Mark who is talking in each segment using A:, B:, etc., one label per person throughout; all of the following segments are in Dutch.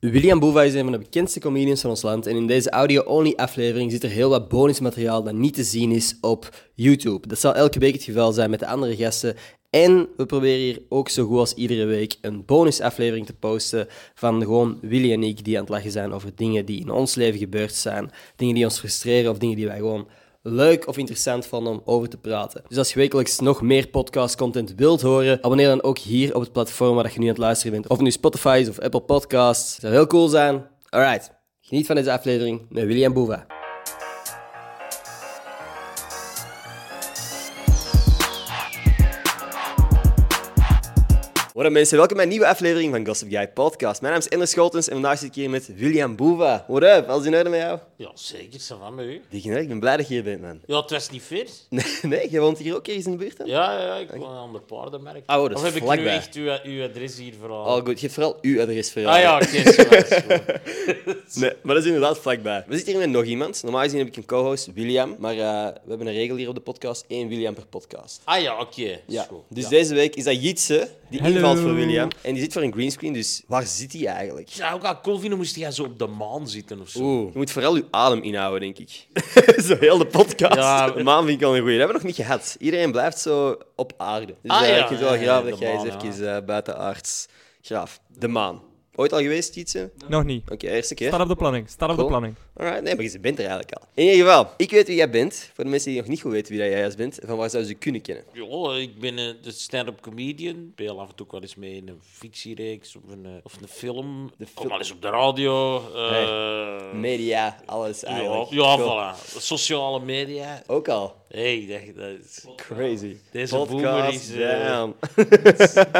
A: William Boeva is een van de bekendste comedians van ons land en in deze audio-only aflevering zit er heel wat bonusmateriaal dat niet te zien is op YouTube. Dat zal elke week het geval zijn met de andere gasten. En we proberen hier ook zo goed als iedere week een bonusaflevering te posten van gewoon Willy en ik die aan het lachen zijn over dingen die in ons leven gebeurd zijn. Dingen die ons frustreren of dingen die wij gewoon leuk of interessant vonden om over te praten. Dus als je wekelijks nog meer podcast-content wilt horen, abonneer dan ook hier op het platform waar dat je nu aan het luisteren bent. Of het nu Spotify is of Apple Podcasts. Het zou heel cool zijn. Alright, geniet van deze aflevering met William Boeva. Wat mensen, welkom bij een nieuwe aflevering van Gossip Guy Podcast. Mijn naam is Ender Scholtens en vandaag zit ik hier met William Boeva. What up, alles in orde met jou?
B: Ja, zeker, ça va met u.
A: Dikke, ik ben blij dat je hier bent, man.
B: Ja, het was niet ver.
A: Nee, nee, jij woont hier ook ergens in de buurt dan?
B: Ja, ja, ja, ik woon aan een ander paardenmerk.
A: Oh, dat is
B: of heb ik nu
A: vlakbij. Oh,
B: echt uw, uw adres hier vooral?
A: Al goed, geef vooral uw adres voor jou.
B: ah ja, oké, is goed, is goed.
A: Nee, maar dat is inderdaad vlakbij. We zitten hier met nog iemand. Normaal gezien heb ik een co-host, William. Maar eh, we hebben een regel hier op de podcast: één William per podcast.
B: Ah ja, oké, is
A: Ja.
B: goed.
A: Dus
B: Ja.
A: deze week is dat Jitse, die
C: Hallo.
A: invalt voor William. En die zit voor een greenscreen, dus waar zit hij eigenlijk?
B: Ik zou ook al cool vinden, moest jij zo op de maan zitten of zo.
A: Oeh. Je moet vooral uw adem inhouden, denk ik. zo heel de podcast.
B: Ja,
A: de maan vind ik al een goeie. Dat hebben we nog niet gehad. Iedereen blijft zo op aarde. Dus
B: Ah,
A: eh,
B: ja,
A: ik vind het wel
B: ja,
A: graaf
B: ja,
A: dat
B: de
A: jij
B: maan,
A: eens
B: ja.
A: even eh, buitenaards graaf. De maan. Ooit al geweest, Jitse?
C: Nog niet.
A: Oké, eerste keer.
C: Staat op de planning. Staat op
A: Cool.
C: de planning.
A: Alright, nee, maar je bent er eigenlijk al. In ieder geval, ik weet wie jij bent. Voor de mensen die nog niet goed weten wie dat jij juist bent, van waar zouden ze kunnen kennen?
B: Ja, ik ben een een stand-up comedian. Ik speel af en toe ook wel eens mee in een fictiereeks of een, eh, of een film.
A: De
B: Kom
A: fil-
B: wel eens op de radio. eh,
A: Media, alles
B: ja,
A: eigenlijk.
B: ja
A: Cool.
B: voilà. Sociale media.
A: Ook al.
B: Hé, hey, dat, dat is...
A: Crazy.
B: Deze boomer is, eh,
A: damn.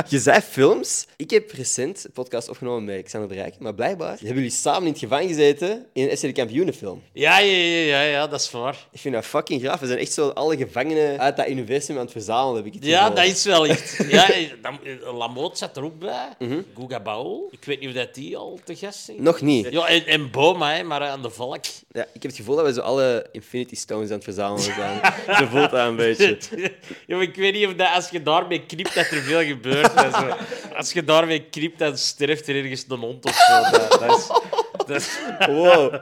A: je zei films. Ik heb recent een podcast opgenomen met Xander de Rijk, maar blijkbaar hebben jullie samen in het gevangen gezeten in een SC de Kampioenenfilm.
B: Ja, ja, ja, ja, ja, dat is waar.
A: Ik vind dat fucking graaf. We zijn echt zo alle gevangenen uit dat universum aan het verzamelen, heb ik het
B: Ja,
A: gevoel.
B: dat is wel echt. Ja, eh, dan, Lamoot zat er ook bij. Guga Baul. Ik weet niet of dat die al te gast is.
A: Mhm. Nog niet.
B: Ja, en, en Boma, hè, maar aan de valk.
A: Ja, ik heb het gevoel dat we zo alle Infinity Stones aan het verzamelen zijn. Zo voelt dat een beetje.
B: Ja, maar ik weet niet of dat, als je daarmee knipt, dat er veel gebeurt. Dat is wel- Als je daarmee knipt, dan sterft er ergens een hond of zo. Dat, dat is, dat is-
A: Wow.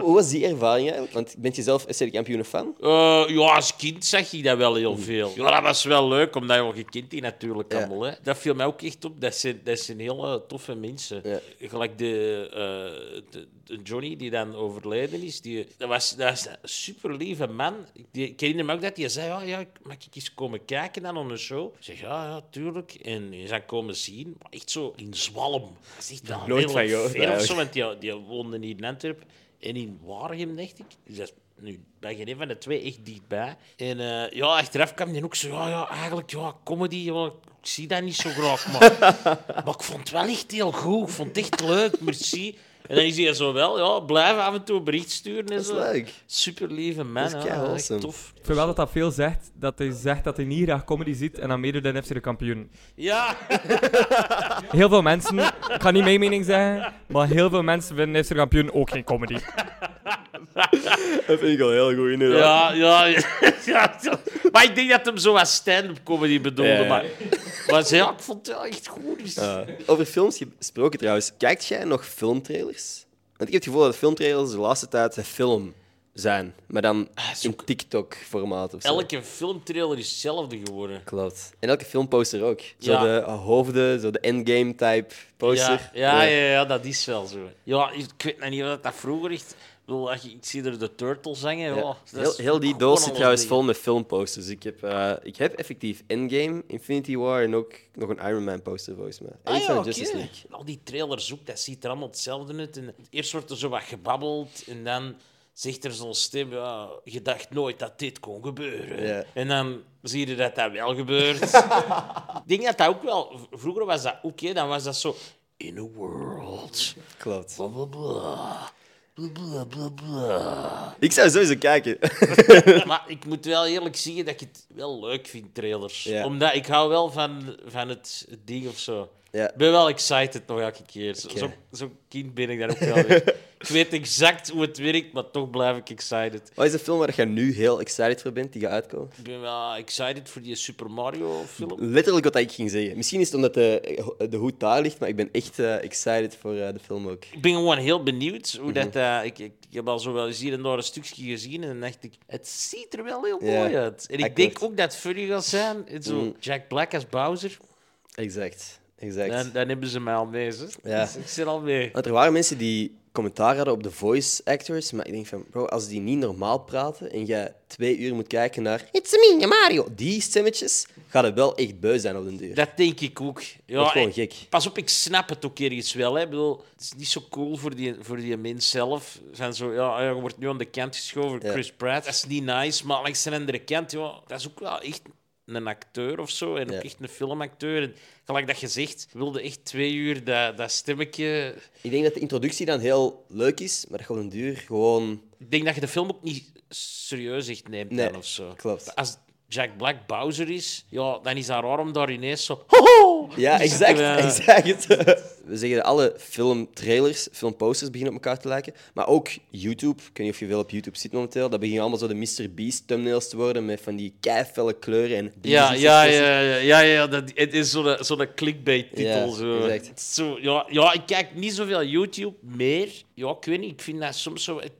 A: Hoe was die ervaring eigenlijk? Want bent je zelf SC kampioenen fan?
B: Eh, ja, als kind zag ik dat wel heel veel. Ja, dat was wel leuk, omdat je je kind die natuurlijk
A: Ja.
B: allemaal. Hè. Dat viel mij ook echt op. Dat zijn, dat zijn hele toffe mensen.
A: Ja.
B: Gelijk de, eh, de- de Johnny, die dan overleden is. Die, dat, was, dat was een super lieve man. Die, ik herinner me ook dat hij zei: "Ah, ja, ja, Mag ik eens komen kijken dan aan een show? Ik zeg: Ja, ja, tuurlijk. En die zijn komen zien. Maar echt zo in zwalm. Dat is echt wel
A: Nooit
B: heel
A: van gehoord,
B: ver of
A: eigenlijk.
B: zo, want die, die woonden hier in Antwerpen en in Waregem, dacht ik. Dus dat is nu bij geen een van de twee echt dichtbij. En eh, ja, achteraf kwam die ook zo, "Ah, ja, ja eigenlijk, ja, comedy, ja, ik zie dat niet zo graag, maar, maar ik vond het wel echt heel goed. Ik vond het echt leuk, merci. En dan is hij zo wel, ja, blijf af en toe een bericht sturen. En
A: Dat is
B: zo.
A: leuk.
B: Super lieve man,
A: Dat is
B: ja,
A: kei
B: echt
A: awesome.
B: tof.
C: Ik vind wel dat dat veel zegt. Dat hij zegt dat hij niet graag comedy ziet en dan meedoet in FC de kampioen.
B: Ja,
C: Heel veel mensen, ik ga niet mijn mening zeggen, maar heel veel mensen vinden FC de kampioen ook geen comedy.
A: Dat vind ik al heel goed, inderdaad.
B: ja, ja, ja, ja. Maar ik denk dat hem zo wat stand-up comedy bedoelde.
A: Ja, ja.
B: Maar, maar ze- ja, ik vond het wel echt goed. Dus.
A: Over films gesproken trouwens. Kijkt jij nog filmtrailers? Want ik heb het gevoel dat filmtrailers de laatste tijd een film zijn. Maar dan in TikTok-formaat of zo.
B: Ah, Elke filmtrailer is hetzelfde geworden.
A: Klopt. En elke filmposter ook. Zo
B: Ja.
A: de eh, hoofden, zo de endgame-type poster.
B: Ja, ja, ja, ja, dat is wel zo. Ja, ik weet nog niet of dat, dat vroeger echt... Ik, bedoel, als je- ik zie er de Turtles hangen.
A: Ja.
B: ja, Oh, dat
A: Heel,
B: is
A: heel die
B: gewoon
A: doos zit
B: alles
A: trouwens
B: liggen.
A: vol met filmposters. Ik heb, eh, ik heb effectief Endgame, Infinity War en ook nog een Iron Man poster volgens mij. En
B: Ah
A: iets
B: ja,
A: van
B: oké.
A: Justice League.
B: Al die trailers ook, dat ziet er allemaal hetzelfde uit. En eerst wordt er zo wat gebabbeld en dan zegt er zo'n stem, ja, je dacht nooit dat dit kon gebeuren.
A: Ja.
B: En dan zie je dat dat wel gebeurt. Ik denk dat dat ook wel... Vroeger was dat ook, hè, dan was dat zo... In a world...
A: Klopt.
B: Blah, blah, blah. Blah, blah, blah, blah.
A: Ik zou sowieso kijken.
B: maar ik moet wel eerlijk zeggen dat ik het wel leuk vind, trailers.
A: Ja.
B: Omdat ik hou wel van, van het ding of zo.
A: Ja.
B: Ik ben wel excited nog elke keer. Zo-
A: Oké.
B: Zo'n zo kind ben ik daar ook wel weer. Ik weet exact hoe het werkt, maar toch blijf ik excited.
A: Wat is de film waar je nu heel excited voor bent, die gaat uitkomen?
B: Ik ben wel excited voor die Super Mario film.
A: Letterlijk wat ik ging zeggen. Misschien is het omdat de, de hoed daar ligt, maar ik ben echt eh, excited voor eh, de film ook.
B: Ik ben gewoon heel benieuwd hoe
A: Mhm.
B: dat... eh, ik, ik, ik heb al zo wel eens hier en daar een stukje gezien en dan dacht ik, het ziet er wel heel
A: Ja, Mhm.
B: mooi uit. En ik
A: akkoord.
B: denk ook dat het funny gaat zijn. En zo Jack Black als Bowser,
A: Exact. exact.
B: dan, dan hebben ze mij al mee. Zo.
A: Ja.
B: Dus ik zit al mee.
A: Want er waren mensen die commentaar hadden op de voice actors, maar ik denk van, bro, als die niet normaal praten en jij twee uur moet kijken naar It's a me, Mario, die stemmetjes, gaat het wel echt beu zijn op den duur.
B: Dat denk ik ook. Ja,
A: Dat is gewoon
B: en-
A: gek.
B: Pas op, ik snap het ook ergens wel. Hè. Ik bedoel, het is niet zo cool voor die, voor die mens zelf. Van zo, ja, je wordt nu aan de kant geschoven door
A: Ja.
B: Chris Pratt. Dat is niet nice, maar langs de andere kant, ja, dat is ook wel echt een acteur of zo. En
A: Ja.
B: ook echt een filmacteur. En gelijk dat je zegt, wilde echt twee uur dat, dat stemmetje...
A: Ik denk dat de introductie dan heel leuk is, maar dat je op den duur gewoon...
B: Ik denk dat je de film ook niet serieus echt neemt
A: Nee,
B: dan of zo.
A: klopt.
B: Als Jack Black Bowser is, ja, dan is dat raar om daar ineens zo... Hoho!
A: Ja, exact,
B: Ja.
A: exact. We zeggen dat alle filmtrailers, filmposters beginnen op elkaar te lijken. Maar ook YouTube, ik weet niet of je veel op YouTube zit momenteel, dat beginnen allemaal zo de Mr. Beast thumbnails te worden met van die keifelle kleuren en...
B: Ja, ja, ja, ja, ja, ja dat, het is zo'n zo'n clickbait-titel.
A: Ja,
B: zo.
A: exact.
B: Het is zo, ja, ja, ik kijk niet zoveel YouTube meer. Ja, ik weet niet, ik vind dat soms zo... Ik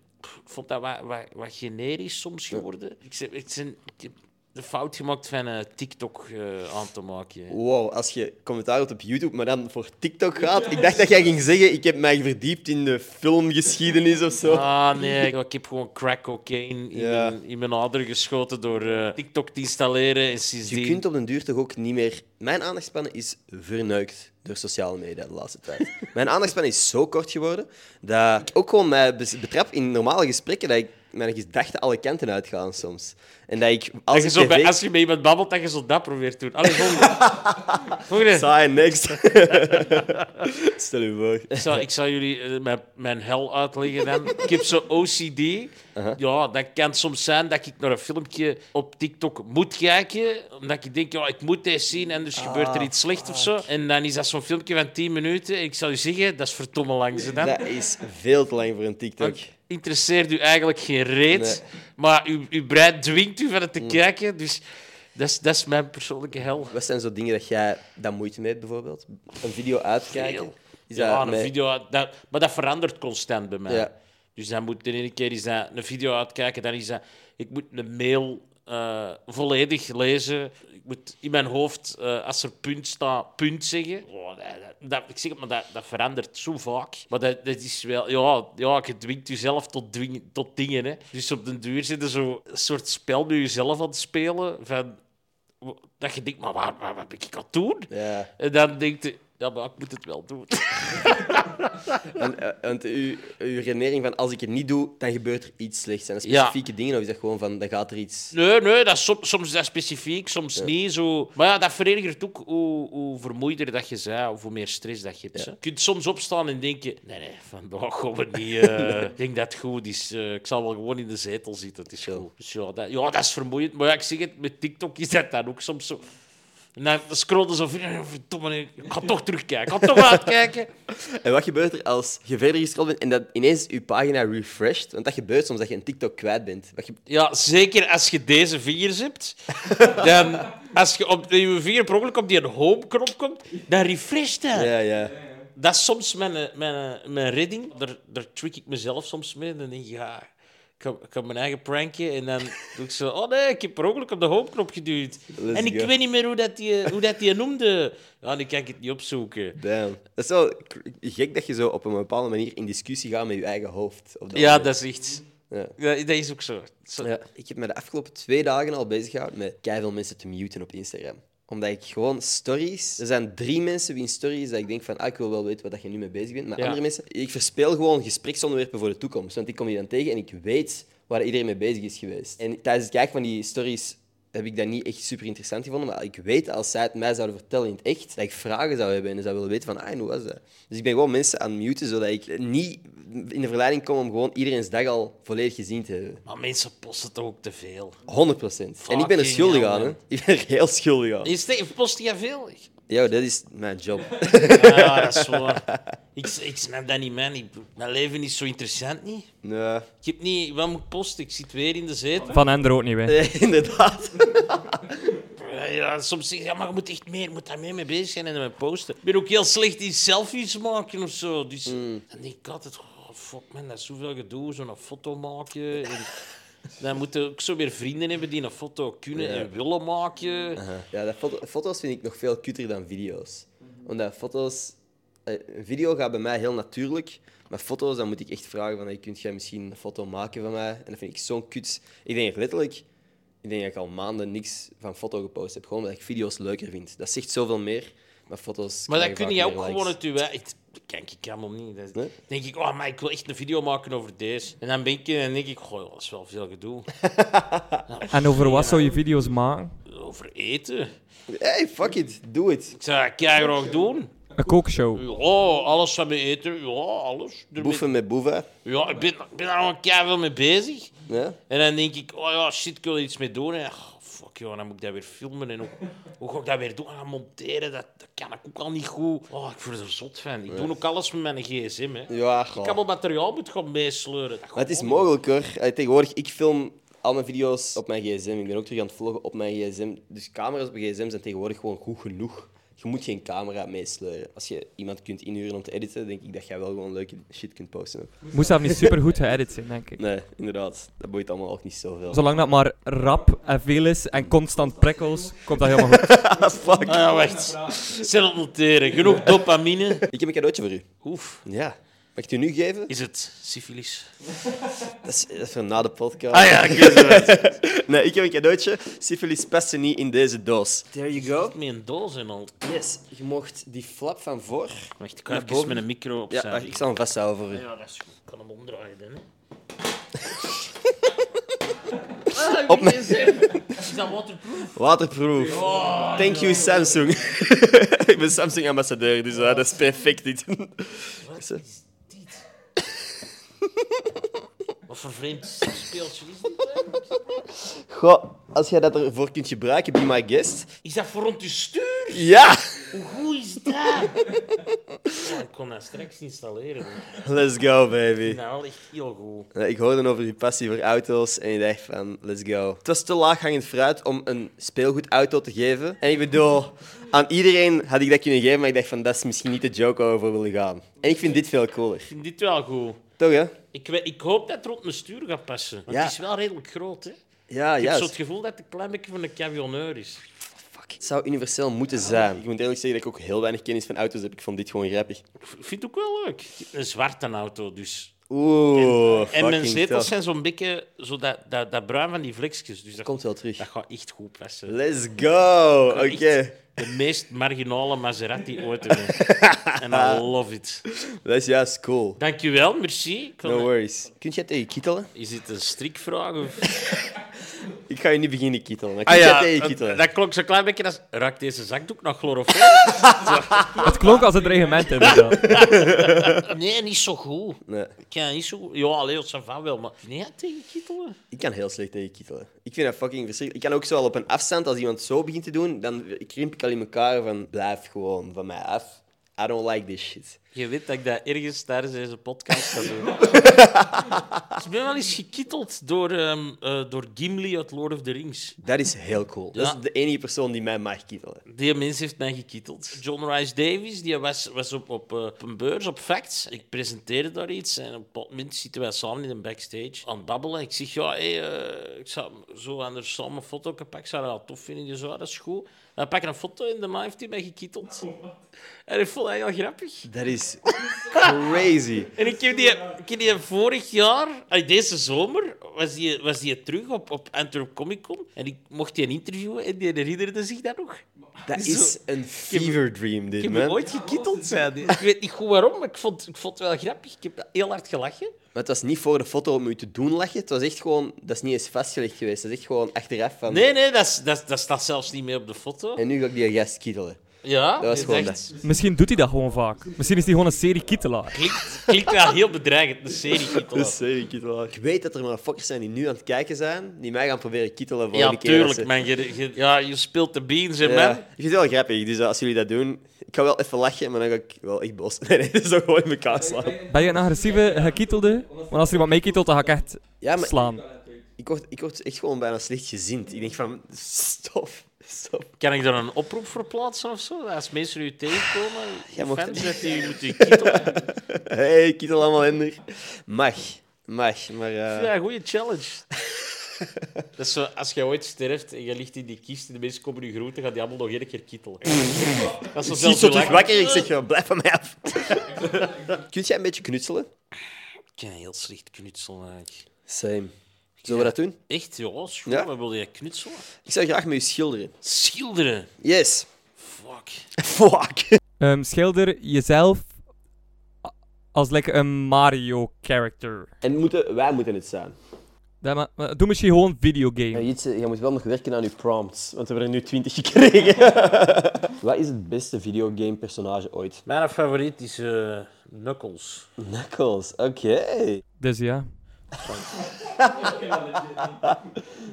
B: vond dat wat, wat, wat generisch soms geworden. Ik, zeg- ik, zijn, ik heb de fout gemaakt van eh, TikTok eh, aan te maken. hè.
A: Wow, als je commentaar hebt op YouTube, maar dan voor TikTok gaat. Ik dacht dat jij ging zeggen, ik heb mij verdiept in de filmgeschiedenis of zo.
B: Ah, nee, ik- ik heb gewoon crack cocaine in,
A: Ja.
B: mijn, in mijn ader geschoten door eh, TikTok te installeren. En
A: Dus Je
B: sindsdien...
A: kunt op den duur toch ook niet meer... Mijn aandachtspannen is verneukt door sociale media de laatste tijd. Mijn aandachtspannen is zo kort geworden dat ik ook gewoon mij bes- betrap in normale gesprekken dat ik mijn gedachten alle kanten uitgaan soms. En dat ik... Als
B: Dat je
A: ik tv
B: zo bij, als je met iemand babbelt, dat je zo dat probeert te doen. Allee, volgende. volgende.
A: Saai, next. Stel je voor.
B: Ik zal, ik zal jullie eh, mijn, mijn hel uitleggen dan. Ik heb zo'n OCD. Ja, dat kan soms zijn dat ik naar een filmpje op TikTok moet kijken. Omdat ik denk, ja, ik moet deze zien, anders gebeurt er iets slecht of zo. En dan is dat zo'n filmpje van 10 minuten. En ik zal u zeggen, dat is verdomme lang. Ze dan.
A: Dat is veel te lang voor een TikTok.
B: Want interesseert u eigenlijk geen reet. Maar uw, uw brein dwingt u van het te kijken. Dus dat is, dat is mijn persoonlijke hel.
A: Wat zijn zo dingen dat jij daar moeite mee hebt, bijvoorbeeld? Een video uitkijken?
B: Veel.
A: Is
B: ja,
A: dat
B: een
A: met-
B: video... Dat, maar dat verandert constant bij mij.
A: Ja.
B: Dus dan moet de ene keer is dat een video uitkijken, dan is dat... Ik moet een mail eh, volledig lezen. Ik moet in mijn hoofd, eh, als er punt staat, punt zeggen. Oh, dat, dat- dat- ik zeg het, maar dat, dat verandert zo vaak. Maar dat, dat is wel... Ja, ja, je dwingt jezelf tot, dwing, tot dingen, hè. Dus op den duur zit er zo een soort spel met jezelf aan het spelen. Van, dat je denkt, maar waar, waar, wat ben ik aan het doen?
A: Ja.
B: En dan denkt hij, ja, maar ik moet het wel doen.
A: En, eh, want uw, uw redenering van als ik het niet doe, dan gebeurt er iets slechts. Zijn dat
B: Ja.
A: specifieke dingen of is dat gewoon van dan gaat er iets.
B: Nee, nee, dat is som- soms is dat specifiek, soms niet. Zo. Maar ja, dat verergert ook hoe, hoe vermoeider dat je bent, of hoe meer stress dat je hebt. hè. Je kunt soms opstaan en denken, nee, nee, vandaag gaan we niet... eh, ik denk dat het goed is. eh, ik zal wel gewoon in de zetel zitten, het is
A: Ja.
B: goed. Dus ja, dat, ja, dat is vermoeiend. Maar ja, ik zeg het, met TikTok is dat dan ook soms zo... En dan scrollen ze zo verder, ja, verdomme, nee, ik ga toch terugkijken, ik ga toch uitkijken.
A: En wat gebeurt er als je verder gescrolld bent en dat ineens uw pagina refresht? Want dat gebeurt soms dat je een TikTok kwijt bent. Wat ge-
B: Ja, zeker als je deze vingers hebt. Dan, als je op je vinger per ongeluk op die home-knop komt, dan refresh dat.
A: Ja, ja.
B: Dat is soms mijn, eh, mijn, eh, mijn redding. Daar, daar trick ik mezelf soms mee. Dan denk ik, ja, ik ga, ik ga mijn eigen prankje. En dan doe ik zo, oh nee, ik heb per ongeluk op de home-knop geduwd.
A: Let's
B: en ik
A: go.
B: weet niet meer hoe dat die, hoe dat die noemde. Ja, nu kan ik het niet opzoeken.
A: Damn. Dat is wel k- gek dat je zo op een bepaalde manier in discussie gaat met je eigen hoofd. op dat
B: Ja,
A: moment.
B: dat is echt...
A: Ja.
B: Ja, dat is ook zo. Zo-
A: Ja. Ik heb me de afgelopen twee dagen al bezig gehouden met keiveel mensen te muten op Instagram. Omdat ik gewoon stories... Er zijn drie mensen wie in stories dat ik denk van, ah, ik wil wel weten wat je nu mee bezig bent. Maar
B: Ja.
A: andere mensen... Ik verspeel gewoon gespreksonderwerpen voor de toekomst. Want ik kom hier dan tegen en ik weet waar iedereen mee bezig is geweest. En tijdens het kijken van die stories heb ik dat niet echt super interessant gevonden. Maar ik weet als zij het mij zouden vertellen in het echt, dat ik vragen zou hebben en zou willen weten van, ah, en hoe was dat? Dus ik ben gewoon mensen aan het muten, zodat ik niet in de verleiding kom om gewoon iedereen's dag al volledig gezien te hebben.
B: Maar mensen posten toch ook te veel.
A: 100 En ik ben er
B: Fucking
A: schuldig
B: hell,
A: aan, hè?
B: man.
A: Ik ben er heel schuldig aan.
B: Is het- Post jij veel?
A: Yo, dat is mijn job.
B: Ah, ja, dat is waar. Ik, ik snap dat niet, man. Ik, mijn leven is zo interessant niet.
A: Nee,
B: Ik heb niet... Wat moet ik posten? Ik zit weer in de zetel.
C: Van Ender ook niet, hè.
A: nee, inderdaad.
B: Ja, ja, soms zeg ik, ja, maar je moet echt meer, je moet daar meer mee bezig zijn en met posten. Ik ben ook heel slecht in selfies maken of zo. Dus dan denk ik altijd, oh, fuck man, dat is zoveel gedoe, zo'n foto maken. En dan moeten ook zo weer vrienden hebben die een foto kunnen en willen maken.
A: Ja, dat foto- foto's vind ik nog veel cuter dan video's. Omdat foto's... eh, Een video gaat bij mij heel natuurlijk, maar foto's, dan moet ik echt vragen van, hey, kunt jij misschien een foto maken van mij? En dat vind ik zo'n kut. Ik denk letterlijk... Ik denk dat ik al maanden niks van foto gepost heb, gewoon omdat ik video's leuker vind. Dat zegt zoveel meer, maar foto's...
B: Maar dat
A: krijgen
B: kun
A: vaak
B: je
A: meer
B: ook
A: likes.
B: gewoon uit je eigen... Dat Kijk, ik helemaal niet. Dat is-
A: Nee?
B: denk ik, oh, maar ik wil echt een video maken over deze. En dan ben ik en denk ik, goh, dat is wel veel gedoe.
C: En over wat zou je video's maken?
B: Over eten.
A: Hey, fuck it, doe het.
B: Ik zou dat graag doen.
C: Een kookshow.
B: Ja, alles van mijn eten. Ja, alles. Ermee-
A: Boeven met boeven.
B: Ja, ik ben, ik ben daar al keihard mee bezig.
A: Ja?
B: En dan denk ik, oh ja, shit, ik wil er iets mee doen. En, ah, fuck joh, dan moet ik dat weer filmen. En hoe, hoe ga ik dat weer doen? En dan monteren, dat, dat kan ik ook al niet goed. Oh, ik word er zot van. Ik doe ook alles met mijn gsm, hè.
A: Ja,
B: Ik
A: goh.
B: allemaal materiaal moet gaan meesleuren. Dat
A: Maar het is
B: gaat
A: mogelijk hoor. Allee, Tegenwoordig, ik film al mijn video's op mijn gsm. Ik ben ook terug aan het vloggen op mijn gsm. Dus camera's op een gsm zijn tegenwoordig gewoon goed genoeg. Je moet geen camera meesleuren. Als je iemand kunt inhuren om te editen, denk ik dat jij wel gewoon leuke shit kunt posten.
C: Moest dat niet super goed geëdit zijn, denk ik.
A: Nee, inderdaad. Dat boeit allemaal ook niet zoveel.
C: Zolang dat maar rap en veel is en constant prikkels, komt dat helemaal goed.
B: niet. Ah ja, wacht. Zelf noteren. Genoeg dopamine.
A: Ik heb een cadeautje voor u.
B: Oef.
A: Ja. Mag ik het u nu geven?
B: Is het syfilis?
A: Dat is, dat is voor na de podcast.
B: Ah ja, ik weet het.
A: Nee, ik heb een cadeautje. Syphilis passen niet in deze doos. There you go.
B: Met een doos en al.
A: Yes, je mocht die flap van voor.
B: Wacht, ik ga
A: Naar
B: even
A: boven.
B: met een micro opzij.
A: Ja, wacht, ik zal hem vasthouden voor u.
B: Ja, dat is goed. Ik kan hem omdraaien, dan, hè.
A: Op mijn-
B: Is dat waterproof?
A: Waterproof.
B: Oh.
A: Thank you, Samsung. ik ben Samsung-ambassadeur, dus eh, dat is perfect. Dit.
B: Wat is dit? Wat voor vreemd speeltje is dit?
A: Goh, als jij dat ervoor kunt gebruiken, be my guest.
B: Is dat voor rond je stuur?
A: Ja,
B: Hoe goed is dat? Ja, ik kon dat straks installeren. hoor.
A: let's go, baby.
B: Nou, echt heel goed.
A: Eh, Ik hoorde over je passie voor auto's en ik dacht van, let's go. Het was te laag hangend fruit om een speelgoedauto te geven. En ik bedoel, aan iedereen had ik dat kunnen geven, maar ik dacht van, dat is misschien niet de joke waar we voor willen gaan. En ik vind dit veel cooler.
B: Ik vind dit wel goed.
A: Toch, hè?
B: Ik, we- ik hoop dat het rond mijn stuur gaat passen. Want
A: Ja.
B: het is wel redelijk groot, hè. Ik
A: Ja,
B: heb
A: ja.
B: zo het gevoel dat het een klein beetje van een camionneur is.
A: Fuck, het zou universeel moeten zijn. Ik moet eerlijk zeggen dat ik ook heel weinig kennis van auto's heb. Ik vond dit gewoon grappig.
B: Ik v- vind het ook wel leuk. Een zwarte auto, dus.
A: Oeh,
B: En mijn
A: fucking
B: zetels
A: tough.
B: zijn zo'n beetje zo dat, dat, dat bruin van die vlekjes. Dus dat,
A: Komt wel terug.
B: dat gaat echt goed passen.
A: Let's go! Oké.
B: Echt De meest marginale Maserati ooit. hebben. En I love it.
A: Dat is juist cool.
B: Dankjewel, merci. Ik
A: No
B: wil-
A: worries. Kun jij tegen kietelen?
B: Is dit een strikvraag? Of...
A: Ah Ik ga je niet beginnen kietelen. maar Kun jij tegen kietelen?
B: Ah dat klonk zo'n klein beetje als... Raakt deze zakdoek nog chloroform?
C: Het klonk als het regiment inderdaad.
B: nee, niet zo goed.
A: Nee,
B: Ik kan niet zo goed. Ja, alleen dat zijn van wel, maar... Nee, tegen kittelen.
A: ik kan heel slecht tegen kietelen. Ik vind dat fucking verschrikkelijk. Ik kan ook zo al op een afstand, als iemand zo begint te doen, dan krimp ik al in elkaar van blijf gewoon van mij af. I don't like this shit.
B: Je weet dat ik dat ergens tijdens deze podcast ga doen. ik ben wel eens gekitteld door, ehm, eh, door Gimli uit Lord of the Rings.
A: Dat is heel cool. Dat
B: Ja.
A: is de enige persoon die mij mag kietelen.
B: Die mens heeft mij gekitteld. John Rice Davies die was, was op, op, eh, op een beurs, op Facts. Ik presenteerde daar iets en op een bepaald moment zitten wij samen in een backstage aan het babbelen. Ik zeg, ja, hey, eh, ik zou zo anders samen een foto pakken. Ik zou dat wel tof vinden. Die zo, "Ah, dat is goed. Dan pak ik een foto en daarna heeft hij mij gekitteld. En ik vond dat heel grappig.
A: Dat is crazy.
B: En ik heb die, ik heb die vorig jaar, ay, deze zomer, was die, was die terug op, op Antwerp Comic Con. En ik mocht die interviewen en die herinnerde zich dat nog.
A: Dat
B: Zo.
A: is een fever dream,
B: Ik
A: dit,
B: heb me
A: man.
B: ooit gekitteld, zei hij. Ik weet niet goed waarom, maar ik vond, ik vond het wel grappig. Ik heb heel hard gelachen.
A: Maar het was niet voor de foto om u te doen lachen. Het was echt gewoon... Dat is niet eens vastgelegd geweest. Dat is echt gewoon achteraf van...
B: Nee, nee, dat, is- dat, is- dat staat zelfs niet meer op de foto.
A: En nu ga ik die gast kietelen.
B: Ja,
A: was
B: is
A: gewoon
B: echt-
C: Misschien doet hij dat gewoon vaak. Misschien is hij gewoon een serie kittelaar.
B: Klinkt, klinkt wel heel bedreigend, de serie
A: Dus, eh, ik weet wel. Ik weet dat er motherfuckers zijn die nu aan het kijken zijn, die mij gaan proberen kittelen voor
B: Ja,
A: de keer. dat
B: tuurlijk,
A: ze-
B: man. Je, je- ja, je speelt de beans in,
A: Ja.
B: man.
A: Ik vind het wel grappig, dus eh, als jullie dat doen, ik ga wel even lachen, maar dan ga ik wel echt boos. Nee, nee, dat is toch gewoon in elkaar slaan.
C: Ben je een agressieve gekittelde? Want als er iemand meekittelt, dan ga ik echt
A: Ja, maar
C: slaan.
A: ik word, ik word echt gewoon bijna slecht gezind. Ik denk van, stop, stop.
B: Kan ik daar een oproep voor plaatsen of zo? Als mensen u tegenkomen,
A: Jij
B: je
A: mocht-
B: fans, dat die u moeten kittelen.
A: Hey, kittel allemaal Ender. Mag, mag, maar... eh,
B: Ja, goede challenge. Dat is zo, als je ooit sterft en je ligt in die kist en de mensen komen je groeten, gaan die allemaal nog één keer kittelen. Dat is zo
A: Ik zie
B: zelfs
A: zo terug
B: belachelijk.
A: wakker, ik zeg, eh, blijf van mij af. Kun jij een beetje knutselen?
B: Ik kan heel slecht knutselen, eigenlijk.
A: Same. Zullen we dat doen?
B: Echt, ja, schoon.
A: Ja.
B: Maar wil jij knutselen?
A: Ik zou graag met u schilderen.
B: Schilderen.
A: Yes.
B: Fuck.
A: Fuck.
C: Ehm, schilder jezelf a- als lekker een Mario-character.
A: En moeten, wij moeten het zijn.
C: Dat ma- maar Doe misschien gewoon videogame.
A: Jitse, jij moet wel nog werken aan je prompts, want we hebben er nu 20 gekregen. Wat is het beste videogame personage ooit?
B: Mijn favoriet is eh, Knuckles.
A: Knuckles, oké.
C: Dus ja.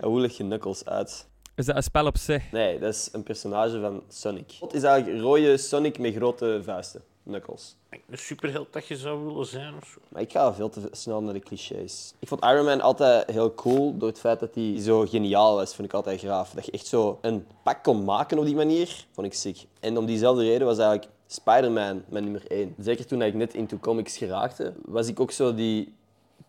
A: En hoe leg je Knuckles uit?
C: Is dat een spel op zich?
A: Nee, dat is een personage van Sonic. Wat is eigenlijk rode Sonic met grote vuisten? Knuckles.
B: Een superheld dat je zou willen zijn of zo.
A: Maar ik ga veel te snel naar de clichés. Ik vond Iron Man altijd heel cool door het feit dat hij zo geniaal was. Vond ik altijd graaf. Dat je echt zo een pak kon maken op die manier, vond ik sick. En om diezelfde reden was eigenlijk Spider-Man mijn nummer één. Zeker toen ik net into comics geraakte, was ik ook zo die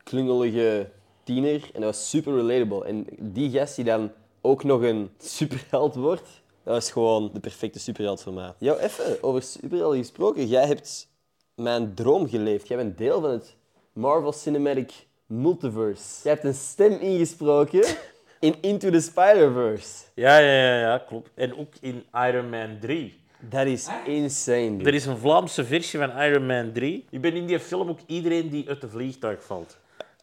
A: klungelige tiener. En dat was super relatable. En die gast die dan ook nog een superheld wordt, dat was gewoon de perfecte superheld voor mij. Jou, even over superhelden gesproken. Jij hebt mijn droom geleefd. Jij bent deel van het Marvel Cinematic Multiverse. Jij hebt een stem ingesproken in Into the Spider-Verse.
B: Ja, ja, ja, ja, klopt. En ook in Iron Man 3.
A: Dat is insane. dude.
B: Er is een Vlaamse versie van Iron Man 3. Je bent in die film ook iedereen die uit de vliegtuig valt.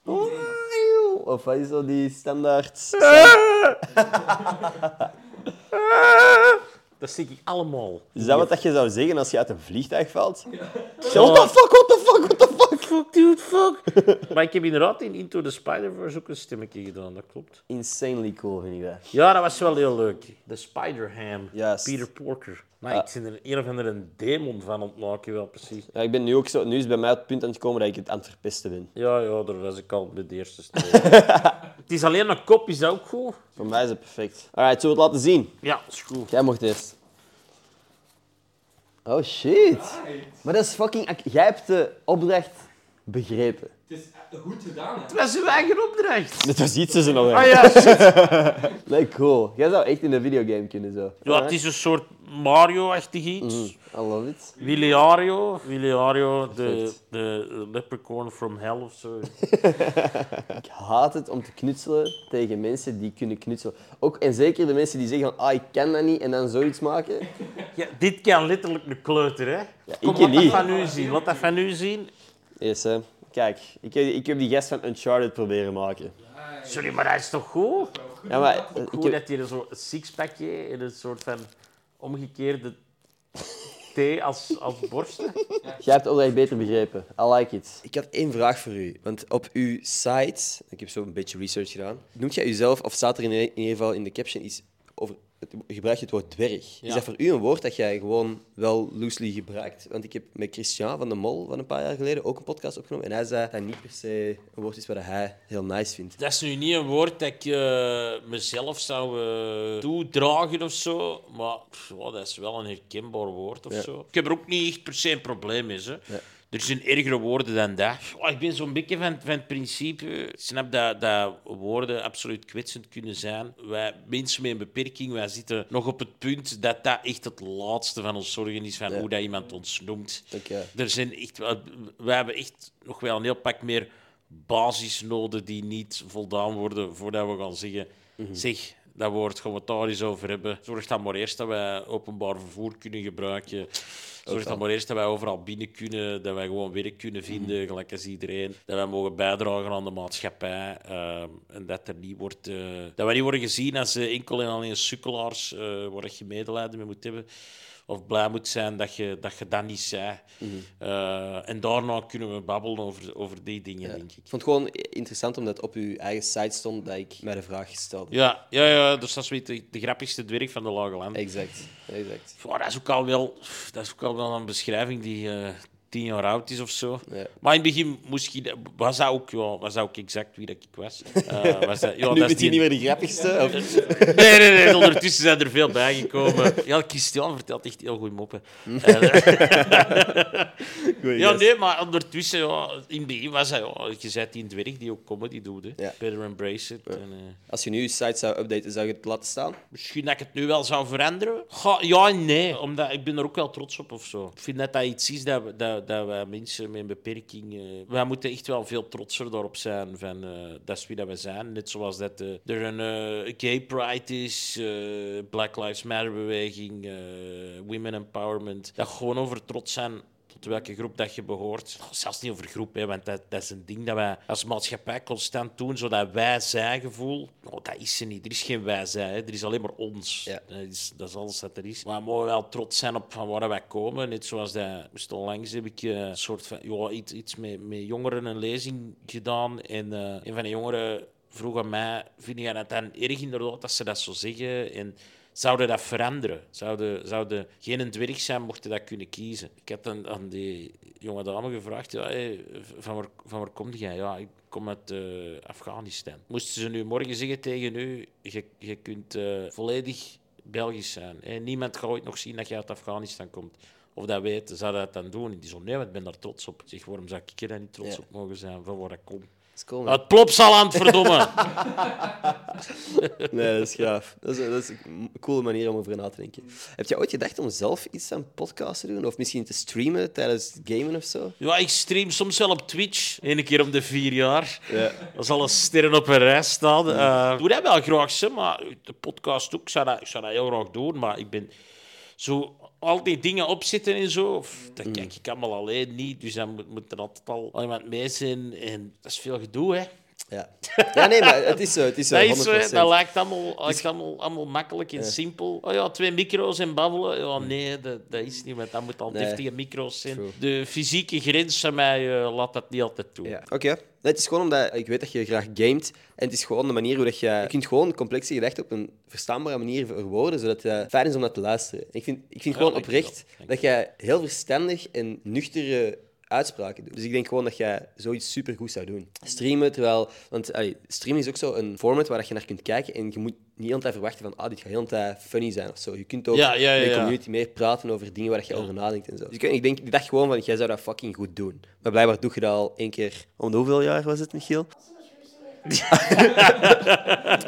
A: Oh, Of wat is dat, die standaard?
B: Dat zie ik allemaal.
A: Is dat wat dat je zou zeggen als je uit een vliegtuig valt? Ja, What the fuck, what the fuck, what the fuck?
B: Fuck, dude, fuck. maar ik heb inderdaad in Into the Spider-Verse ook een stemmetje gedaan, dat klopt.
A: Insanely cool vind ik dat.
B: Ja, dat was wel heel leuk. De Spider-Ham.
A: Juist.
B: Peter Porker. Maar ik zit er een of andere demon van ontmaken, wel precies.
A: Ja, ik ben nu ook zo, nu is bij mij het punt aan het komen dat ik het aan het verpesten ben.
B: Ja, ja, daar was ik al bij de eerste stap. het is alleen een kop, is dat ook goed?
A: Voor mij is het perfect. Alright, zullen we het laten zien?
B: Ja, is goed.
A: Jij mocht eerst. Oh shit. Maar dat is fucking. ac- Jij hebt de opdracht begrepen.
B: Het was uw eigen opdracht.
A: Dit was iets tussen nog.
B: Ah ja,
A: Nee, cool. Jij zou echt in een videogame kunnen zo.
B: Ja, het is een soort Mario-achtig iets.
A: I love it.
B: Williario. Williario, de,
A: Perfect.
B: de leprechaun from hell of zo.
A: Ik haat het om te knutselen tegen mensen die kunnen knutselen. Ook en zeker de mensen die zeggen: van, ah, ik kan dat niet en dan zoiets maken.
B: Ja, dit kan letterlijk een kleuter, hè? Kom,
A: ik
B: laat
A: niet.
B: dat van u zien. Laat dat van u zien.
A: Eerst hè. Kijk, ik heb, ik heb die gast van Uncharted proberen maken.
B: Sorry, maar dat is toch goed?
A: Ja, maar eh,
B: Goed
A: ik heb,
B: dat hij een soort sixpackje en een soort van omgekeerde T als, als borsten.
A: Jij hebt de opdracht beter begrepen. I like it. Ik had één vraag voor u. Want op uw site, ik heb zo een beetje research gedaan. Noemt jij uzelf, of staat er in, in ieder geval in de caption iets over. het- Gebruik je het woord dwerg? Is dat voor u een woord dat jij gewoon wel loosely gebruikt? Want ik heb met Christian van de Mol van een paar jaar geleden ook een podcast opgenomen. En hij zei dat niet per se een woord is wat hij heel nice vindt.
B: Dat is nu niet een woord dat ik eh, mezelf zou eh, toedragen of zo. Maar pff, ja, dat is wel een herkenbaar woord of zo. Ik heb er ook niet echt per se een probleem mee. Hè. Er zijn ergere woorden dan dat. Ja, ik ben zo'n beetje van, van het principe. Ik snap dat, dat woorden absoluut kwetsend kunnen zijn. Wij mensen met een beperking wij zitten nog op het punt dat dat echt het laatste van ons zorgen is. Van hoe dat iemand ons noemt.
A: Oké.
B: Er zijn echt, wel- wij hebben echt nog wel een heel pak meer basisnoden die niet voldaan worden voordat we gaan zeggen, zeg, dat woord gaan we het daar eens over hebben. Zorg dan maar eerst dat wij openbaar vervoer kunnen gebruiken. Zorg dan maar eerst dat wij overal binnen kunnen, dat wij gewoon werk kunnen vinden, gelijk als iedereen. Dat wij mogen bijdragen aan de maatschappij. ehm, en dat, er niet wordt, eh, dat wij niet worden gezien als eh, enkel en alleen sukkelaars, eh waar je medelijden mee moet hebben of blij moet zijn dat je dat, je dat niet zei.
A: Mhm.
B: Eh, en daarna kunnen we babbelen over, over die dingen, denk ik.
A: Ik vond het gewoon interessant omdat op uw eigen site stond dat ik mij de vraag stelde.
B: Ja, ja, ja, dus dat is weer de, de grappigste dwerg van de Lage Landen.
A: Exact, exact.
B: Ja, dat, is ook al wel, dat is ook al wel een beschrijving die eh, tien jaar oud is of zo.
A: Ja.
B: Maar in het begin moest ik, was, dat ook, ja, was dat ook exact wie dat ik was. Eh, was dat,
A: nu
B: ja, dat
A: bent
B: is
A: je
B: die-
A: niet meer de grappigste. Of...
B: Nee, nee, nee. Ondertussen zijn er veel bijgekomen. Ja, Christian vertelt echt heel goede moppen. Eh, ja, nee, maar ondertussen, ja, in het begin was hij, ja, je zei die dwerg die ook comedy doet. Hè.
A: Ja.
B: Better embrace it. En, eh,
A: Als je nu je site zou updaten, zou je het laten staan?
B: misschien dat ik het nu wel zou veranderen. Ga- ja en nee, omdat ik ben er ook wel trots op of zo. Ik vind dat dat iets is dat, we- dat, dat wij mensen met een beperking... eh, wij moeten echt wel veel trotser daarop zijn van eh, dat is wie dat we zijn. Net zoals dat eh, er een eh, gay pride is, eh, Black Lives Matter beweging, eh, women empowerment. Dat gewoon over trots zijn tot welke groep dat je behoort. Oh, Zelfs niet over groep, hè, want dat, dat is een ding dat wij als maatschappij constant doen, zodat wij-zij-gevoel, oh, dat is er niet. Er is geen wij-zij, hè. er is alleen maar ons.
A: Ja.
B: Dat, is, dat is alles dat er is. Maar we mogen wel trots zijn op van waar wij komen. Net zoals dat, moest onlangs heb ik eh, een soort van, ja, iets, iets met, met jongeren een lezing gedaan en eh, een van de jongeren vroeg aan mij, vind jij dat dan erg inderdaad dat ze dat zo zeggen? En zouden dat veranderen? Zouden, zouden geen dwerg zijn, mochten dat kunnen kiezen? Ik had aan, aan die jonge dame gevraagd, ja, hé, van, waar, van waar kom jij? Ja, ik kom uit eh, Afghanistan. Moesten ze nu morgen zeggen tegen u, je, je kunt eh, volledig Belgisch zijn. Hè? Niemand gaat ooit nog zien dat je uit Afghanistan komt. Of dat weten, zou dat dan doen? En die zo, nee, want ik ben daar trots op. Ik Zeg, waarom zou ik er dan niet trots
A: Ja.
B: op mogen zijn, van waar ik kom?
A: Dat is cool, man.
B: Het plopsaland, verdomme!
A: Nee, dat is gaaf. Dat is, dat is een coole manier om over na te denken. Heb je ooit gedacht om zelf iets aan podcasts te doen? Of misschien te streamen tijdens het gamen of zo?
B: Ja, ik stream soms wel op Twitch. Eén keer om de vier jaar.
A: Ja.
B: Als alle sterren op een rij staan. Eh, ik doe dat wel graag, ze, maar de podcast ook. Ik zou, dat, ik zou dat heel graag doen, maar ik ben zo... Al die dingen opzitten en zo, of, dat kijk ik allemaal alleen niet. Dus dan moet, moet er altijd al al iemand mee zijn. En dat is veel gedoe, hè.
A: Ja. ja, nee, maar het is zo. Het is zo,
B: Dat, is
A: 100%.
B: zo, hè. dat lijkt
A: Dus
B: allemaal, lijkt allemaal, allemaal makkelijk en simpel. Oh ja, twee micro's en babbelen. Ja, nee, dat, dat is niet, want dat moet al
A: Nee.
B: deftige micro's zijn.
A: True.
B: De fysieke grens van mij eh, laat dat niet altijd toe.
A: Ja. Oké. Nee, het is gewoon omdat ik weet dat je graag gamet. En het is gewoon de manier hoe dat je... Je kunt gewoon complexe gedachten op een verstaanbare manier verwoorden, zodat het fijn is om naar te luisteren. Ik vind, ik vind
B: Ja,
A: gewoon
B: dank je wel.
A: oprecht
B: Dank je
A: dat jij heel verstandig en nuchtere uitspraken doet. Dus ik denk gewoon dat jij zoiets supergoed zou doen. Streamen, terwijl... Want allee, streamen is ook zo een format waar dat je naar kunt kijken en je moet niet altijd verwachten van ah, dit gaat heel de tijd funny zijn of zo. Je kunt ook
B: Ja, ja, ja,
A: met de
B: ja.
A: community meer praten over dingen waar dat je over nadenkt en zo. Dus ik, weet niet, ik denk, ik dacht gewoon van, jij zou dat fucking goed doen. Maar blijkbaar doe je dat al één keer... Om de hoeveel jaar was het, Michiel?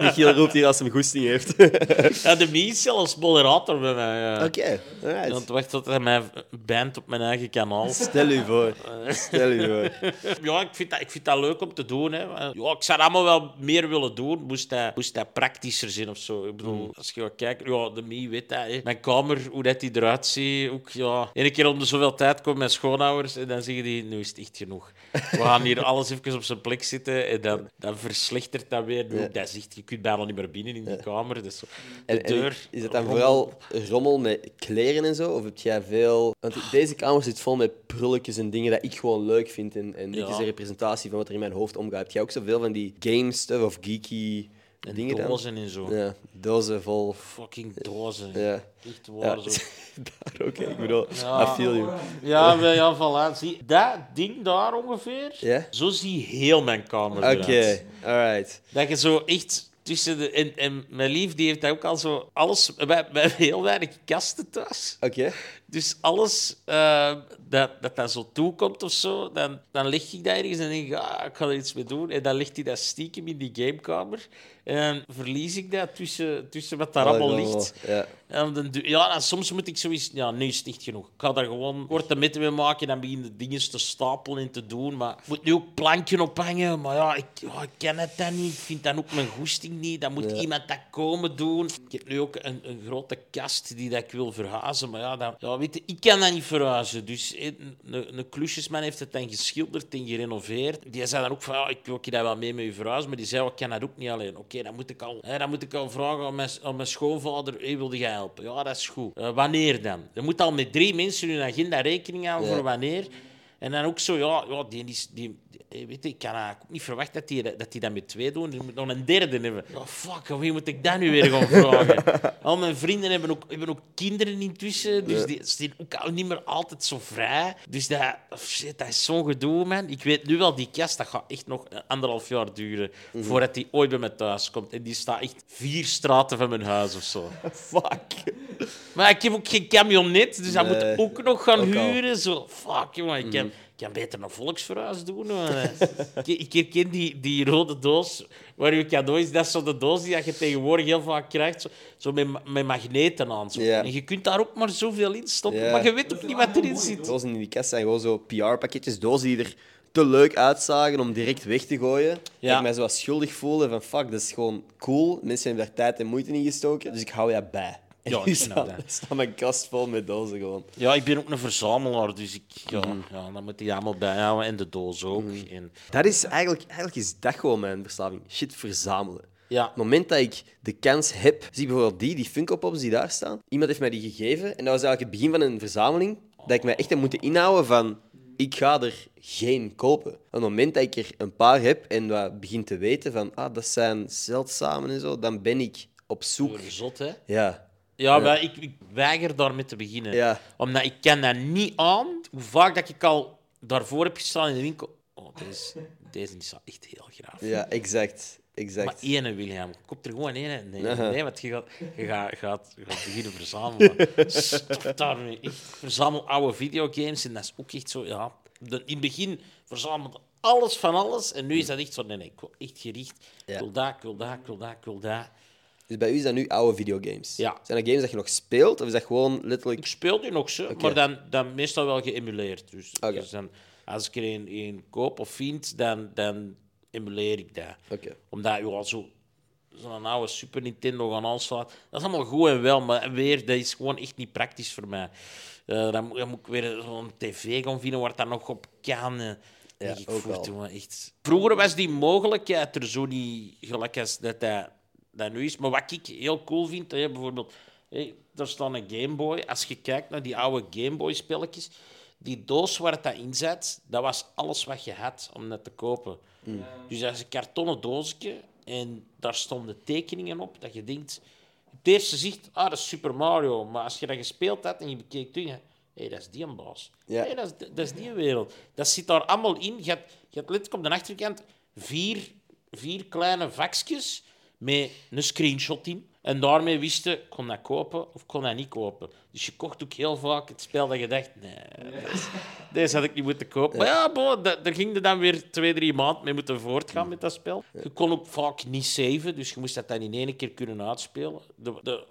A: Michiel roept hier als hij een goesting heeft. Oké,
B: Ja, de Mie is zelfs moderator bij mij. Ja.
A: alright.
B: Want wacht tot hij mij band op mijn eigen kanaal.
A: Stel u voor. Stel u voor.
B: Ja, ik vind, dat, ik vind dat leuk om te doen. Hè. Ja, ik zou dat allemaal wel meer willen doen. Moest dat, moest dat praktischer zijn of zo. Ik bedoel,
A: Mm.
B: als je gaat kijken, ja, de Mie weet dat. Hè. Mijn kamer, hoe dat die eruit ziet. Ook, ja. Eén keer om de zoveel tijd komen mijn schoonouders en dan zeggen die, nu is het echt genoeg. We gaan hier alles even op zijn plek zitten en dan, dan verslechtert dat weer. Nu, Dat is echt, je kunt bijna niet meer binnen in die kamer. Dus de
A: En, en
B: deur...
A: is het dan vooral rommel met kleren en zo? Of heb jij veel...
B: Ah.
A: Want deze kamer zit vol met prulletjes en dingen dat ik gewoon leuk vind. En, en dit
B: Ja.
A: is een representatie van wat er in mijn hoofd omgaat. Heb jij ook zoveel van die game stuff of geeky
B: En
A: dingen dan?
B: dozen en zo.
A: Ja, dozen vol...
B: Fucking dozen.
A: Ja.
B: Echt
A: Ja.
B: waar, zo.
A: daar ook, hè. ik bedoel,
B: Ja.
A: I feel you.
B: Ja, maar ja, voilà. Zie, dat ding daar ongeveer,
A: Ja?
B: zo zie heel mijn kamer
A: Oké,
B: eruit.
A: alright.
B: Dat je zo echt tussen de... En, en mijn lief, die heeft dat ook al zo alles... Wij, wij hebben heel weinig kasten thuis.
A: Oké.
B: Dus alles eh, dat, dat dat zo toekomt of zo, dan, dan leg ik dat ergens en denk ik, ah, ik ga er iets mee doen. En dan ligt hij dat stiekem in die gamekamer. En dan verlies ik dat tussen, tussen wat daar allemaal
A: Oh,
B: ligt.
A: Ja.
B: En dan doe- ja, en soms moet ik zoiets... Ja, nu is het echt genoeg. Ik ga daar gewoon korte metten mee maken en dan beginnen de dingen te stapelen en te doen. Maar ik moet nu ook plankje ophangen. Maar ja, ik, ja, ik ken het dan niet. Ik vind dan ook mijn goesting niet. Dan moet iemand dat komen doen. Ik heb nu ook een, een grote kast die dat ik wil verhuizen. Maar ja, dan, ja, weet je, ik kan dat niet verhuizen. Dus eh, een een klusjesman heeft het dan geschilderd en gerenoveerd. Die zei dan ook van, ja, ik wil je dat wel mee met je verhuis. Maar die zei, "Ja, ik kan dat ook niet alleen. Oké, dan, moet ik al, hè, dan moet ik al vragen aan mijn, aan mijn schoonvader, hey, wilde jij helpen? Ja, dat is goed. Eh, wanneer dan? Je moet al met drie mensen in je agenda rekening houden
A: Ja.
B: voor wanneer. En dan ook zo, ja, ja die is... Die, die- weet je, ik kan eigenlijk ook niet verwachten dat die, dat die dat met twee doen. Die moet nog een derde hebben. Ja, fuck, aan wie moet ik dat nu weer gaan vragen? Al mijn vrienden hebben ook, hebben ook kinderen intussen. Dus die zijn ook al niet meer altijd zo vrij. Dus dat, shit, dat is zo'n gedoe, man. Ik weet nu wel, die kast, dat gaat echt nog anderhalf jaar duren.
A: Mhm.
B: Voordat die ooit bij mij thuis komt. En die staat echt vier straten van mijn huis of zo.
A: Fuck.
B: Maar ik heb ook geen camionet, dus dat
A: Nee,
B: moet ook nog gaan
A: ook al.
B: huren. Zo, fuck jongen, ik kan, ik kan beter een volksverhuis doen. hoor. ik, ik herken die, die rode doos waar je cadeau is. Dat is zo de doos die dat je tegenwoordig heel vaak krijgt. Zo, zo met, ma- met magneten aan. Zo.
A: Ja.
B: En je kunt daar ook maar zoveel in stoppen,
A: Ja.
B: maar je weet ook niet wat erin zit.
A: Dozen in die kast zijn gewoon zo PR-pakketjes, dozen die er te leuk uitzagen om direct weg te gooien. Dat ik mij zo wat schuldig voelde van fuck, dat is gewoon cool. Mensen hebben daar tijd en moeite in gestoken, dus ik hou dat bij. En
B: Ja,
A: nu
B: inderdaad.
A: staat, staat mijn kast vol met dozen gewoon.
B: Ja, ik ben ook een verzamelaar, dus ik, ja, ja, dan moet die allemaal bijhouden. En de doos ook. Mm. En,
A: Dat is eigenlijk, eigenlijk is dat gewoon mijn verslaving. Shit verzamelen.
B: ja.
A: Op het moment dat ik de kans heb, zie ik bijvoorbeeld die, die Funko Pops die daar staan. Iemand heeft mij die gegeven en dat was eigenlijk het begin van een verzameling dat ik mij echt heb moeten inhouden van ik ga er geen kopen. Op het moment dat ik er een paar heb en wat begin te weten van ah, dat zijn zeldzamen en zo, dan ben ik op zoek.
B: Zot, hè?
A: Ja,
B: Ja, maar ik, ik weiger daarmee te beginnen.
A: Ja.
B: Omdat ik ken dat niet aan. Hoe vaak dat ik al daarvoor heb gestaan in de winkel... Oh, deze, deze is wel echt heel graaf.
A: ja, exact.
B: Maar
A: exact.
B: één, William. Koop er gewoon één. Nee,
A: Aha.
B: nee want je gaat, je gaat, gaat, je gaat beginnen verzamelen. Stop daarmee. Ik verzamel oude videogames en dat is ook echt zo... Ja. De- in het begin verzamelde alles van alles. En nu is dat echt zo... Nee, nee, ik wil echt gericht.
A: Ja.
B: Ik wil dat, ik wil dat, ik wil dat, ik wil dat.
A: Dus bij u is dat nu oude videogames.
B: Ja.
A: Zijn dat games dat je nog speelt of is dat gewoon
B: Ik
A: letterlijk.
B: speel die nog, ze, maar dan, dan meestal wel geëmuleerd. Dus,
A: Oké.
B: dus dan, als ik er een, een koop of vind, dan, dan emuleer ik dat.
A: Oké.
B: Omdat je al zo, zo'n oude Super Nintendo gaan aanslaat. Dat is allemaal goed en wel, maar weer, dat is gewoon echt niet praktisch voor mij. Eh, dan, moet- dan moet ik weer zo'n tv gaan vinden waar dat nog op kan. eh.
A: Ja,
B: ik
A: ook
B: voer
A: al.
B: toen wel echt... Vroeger was die mogelijkheid er zo niet gelijk als dat dat, dat nu is. Maar wat ik heel cool vind, hè, bijvoorbeeld... Hé, daar staat een Game Boy. Als je kijkt naar die oude Game Boy spelletjes, die doos waar dat in zat, dat was alles wat je had om dat te kopen. Dus dat is een kartonnen doosje en daar stonden tekeningen op dat je denkt... Op het eerste zicht, ah, dat is Super Mario. Maar als je dat gespeeld had en je bekeek toen, hé, hey, dat is die een baas.
A: Ja.
B: Hey, dat, is, dat is die wereld. Dat zit daar allemaal in. Je hebt, je hebt letterlijk op de achterkant vier, vier kleine vakjes met een screenshot in. En daarmee wist je, kon dat kopen of kon dat niet kopen. Dus je kocht ook heel vaak het spel dat je dacht, nee, dat is- deze had ik niet moeten kopen. Maar ja, bo, da- daar ging je dan weer twee, drie maanden mee moeten voortgaan met dat spel. Je kon ook vaak niet saven, dus je moest dat dan in één keer kunnen uitspelen. De, de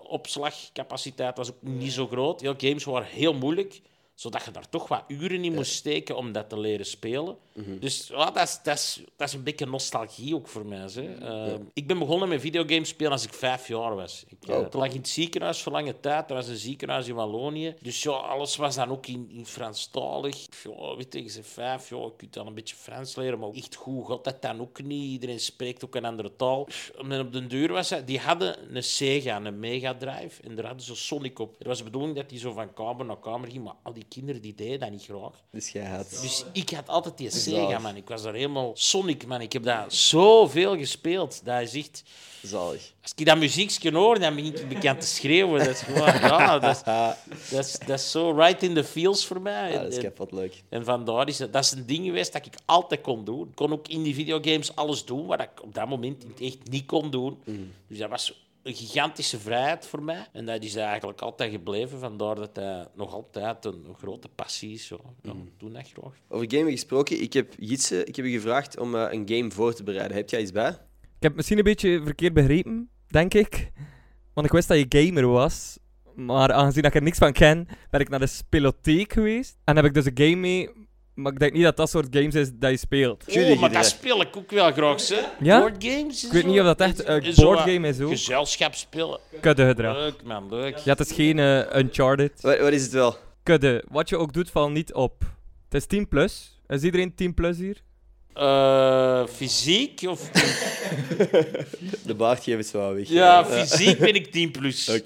B: opslagcapaciteit was ook niet zo groot. Ja, games waren heel moeilijk zodat je daar toch wat uren in moest steken om dat te leren spelen. Dus ja, dat, is, dat, is, dat is een beetje nostalgie ook voor mij. Hè. Eh, Ik ben begonnen met videogames spelen als ik vijf jaar was. Ik, eh,
A: Oh.
B: lag in het ziekenhuis voor lange tijd. Er was een ziekenhuis in Wallonië. Dus ja, alles was dan ook in, in Franstalig. Ja, weet je, je bent vijf, ja, je kunt dan een beetje Frans leren. Maar echt goed gaat dat dan ook niet. Iedereen spreekt ook een andere taal. En op den duur was dat... Die hadden een Sega, een Mega Drive. En daar hadden ze Sonic op. Er was de bedoeling dat die zo van kamer naar kamer ging. Maar al die kinderen die deden dat niet graag.
A: Dus jij had.
B: Dus ik had altijd die Sega, man. Ik was daar helemaal... Sonic, man. Ik heb daar zoveel gespeeld. Dat is echt...
A: Zalig.
B: Als ik dat muziekje hoor, dan begin ik bekend te schreeuwen. Dat is gewoon, ja, dat is, dat is, dat is zo right in the feels voor mij.
A: Ja, dat is
B: En-
A: kapot leuk.
B: en vandaar is dat, dat is een ding geweest dat ik altijd kon doen. Ik kon ook in die videogames alles doen wat ik op dat moment in het echt niet kon doen.
A: Mm.
B: Dus dat was een gigantische vrijheid voor mij. En dat is eigenlijk altijd gebleven. Vandaar dat dat nog altijd een, een grote passie is. Zo. Ja,
A: Mm.
B: ik Doe dat graag.
A: Over gamen gesproken, ik heb Jitse, ik heb je gevraagd om eh, een game voor te bereiden. Heb jij iets bij?
C: Ik heb het misschien een beetje verkeerd begrepen, denk ik. Want ik wist dat je gamer was. Maar aangezien dat ik er niks van ken, ben ik naar de spelotheek geweest. En heb ik dus een game mee. Maar ik denk niet dat dat soort games is dat je speelt.
A: Jullie
B: Oh, maar dat
A: iedereen.
B: speel ik ook wel graag, ze.
C: Ja?
B: Boardgames.
C: Ik weet niet of dat echt een boardgame is ook.
B: Gezelschap spelen.
C: Kudde gedrag.
B: Leuk, man. Leuk.
C: Ja, het is geen eh, Uncharted.
A: Wat, wat is het wel?
C: kudde. Wat je ook doet, val niet op. Het is 10 plus. Is iedereen 10 plus hier?
B: Eh, fysiek? Of...
A: De baard geven is wel weg. Eh,
B: Ja, fysiek ben ik 10 plus.
A: Oké.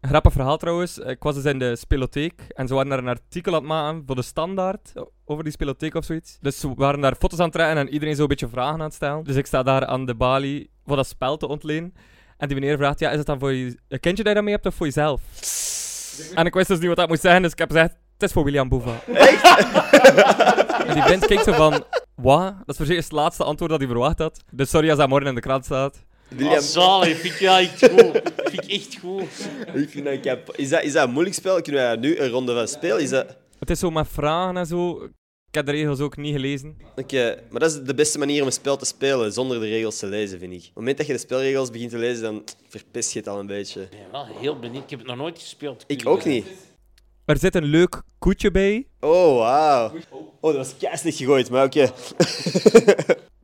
C: Grappig verhaal trouwens. Ik was dus in de spelotheek en ze waren daar een artikel aan het maken voor de standaard o- over die spelotheek of zoiets. Dus ze waren daar foto's aan het trekken en iedereen zo een beetje vragen aan het stellen. Dus ik sta daar aan de balie voor dat spel te ontlenen. En die meneer vraagt, ja, is het dan voor je een kindje dat je daarmee hebt of voor jezelf? En ik wist dus niet wat dat moest zijn, dus ik heb gezegd, het is voor William Boeva. en die vent kijkt zo van, wat? Dat is voor zeker het laatste antwoord dat hij verwacht had. Dus sorry als dat morgen in de krant staat.
B: Ah,
A: William,
B: zalig, vind ik ja, echt goed. Vind ik echt goed.
A: ik vind dat ik heb- is, dat, is dat een moeilijk spel? Kunnen wij daar nu een ronde van spelen? Is dat...
C: Het is zo met vragen en zo. Ik heb de regels ook niet gelezen.
A: Oké, maar dat is de beste manier om een spel te spelen, zonder de regels te lezen, vind ik. Op het moment dat je de spelregels begint te lezen, dan verpest je het al een beetje.
B: Ik ben wel heel benieuwd. Ik heb het nog nooit gespeeld.
A: Ik ook niet.
C: Er zit een leuk koetje bij.
A: Oh, wauw. Oh, dat was keis niet gegooid, maar oké.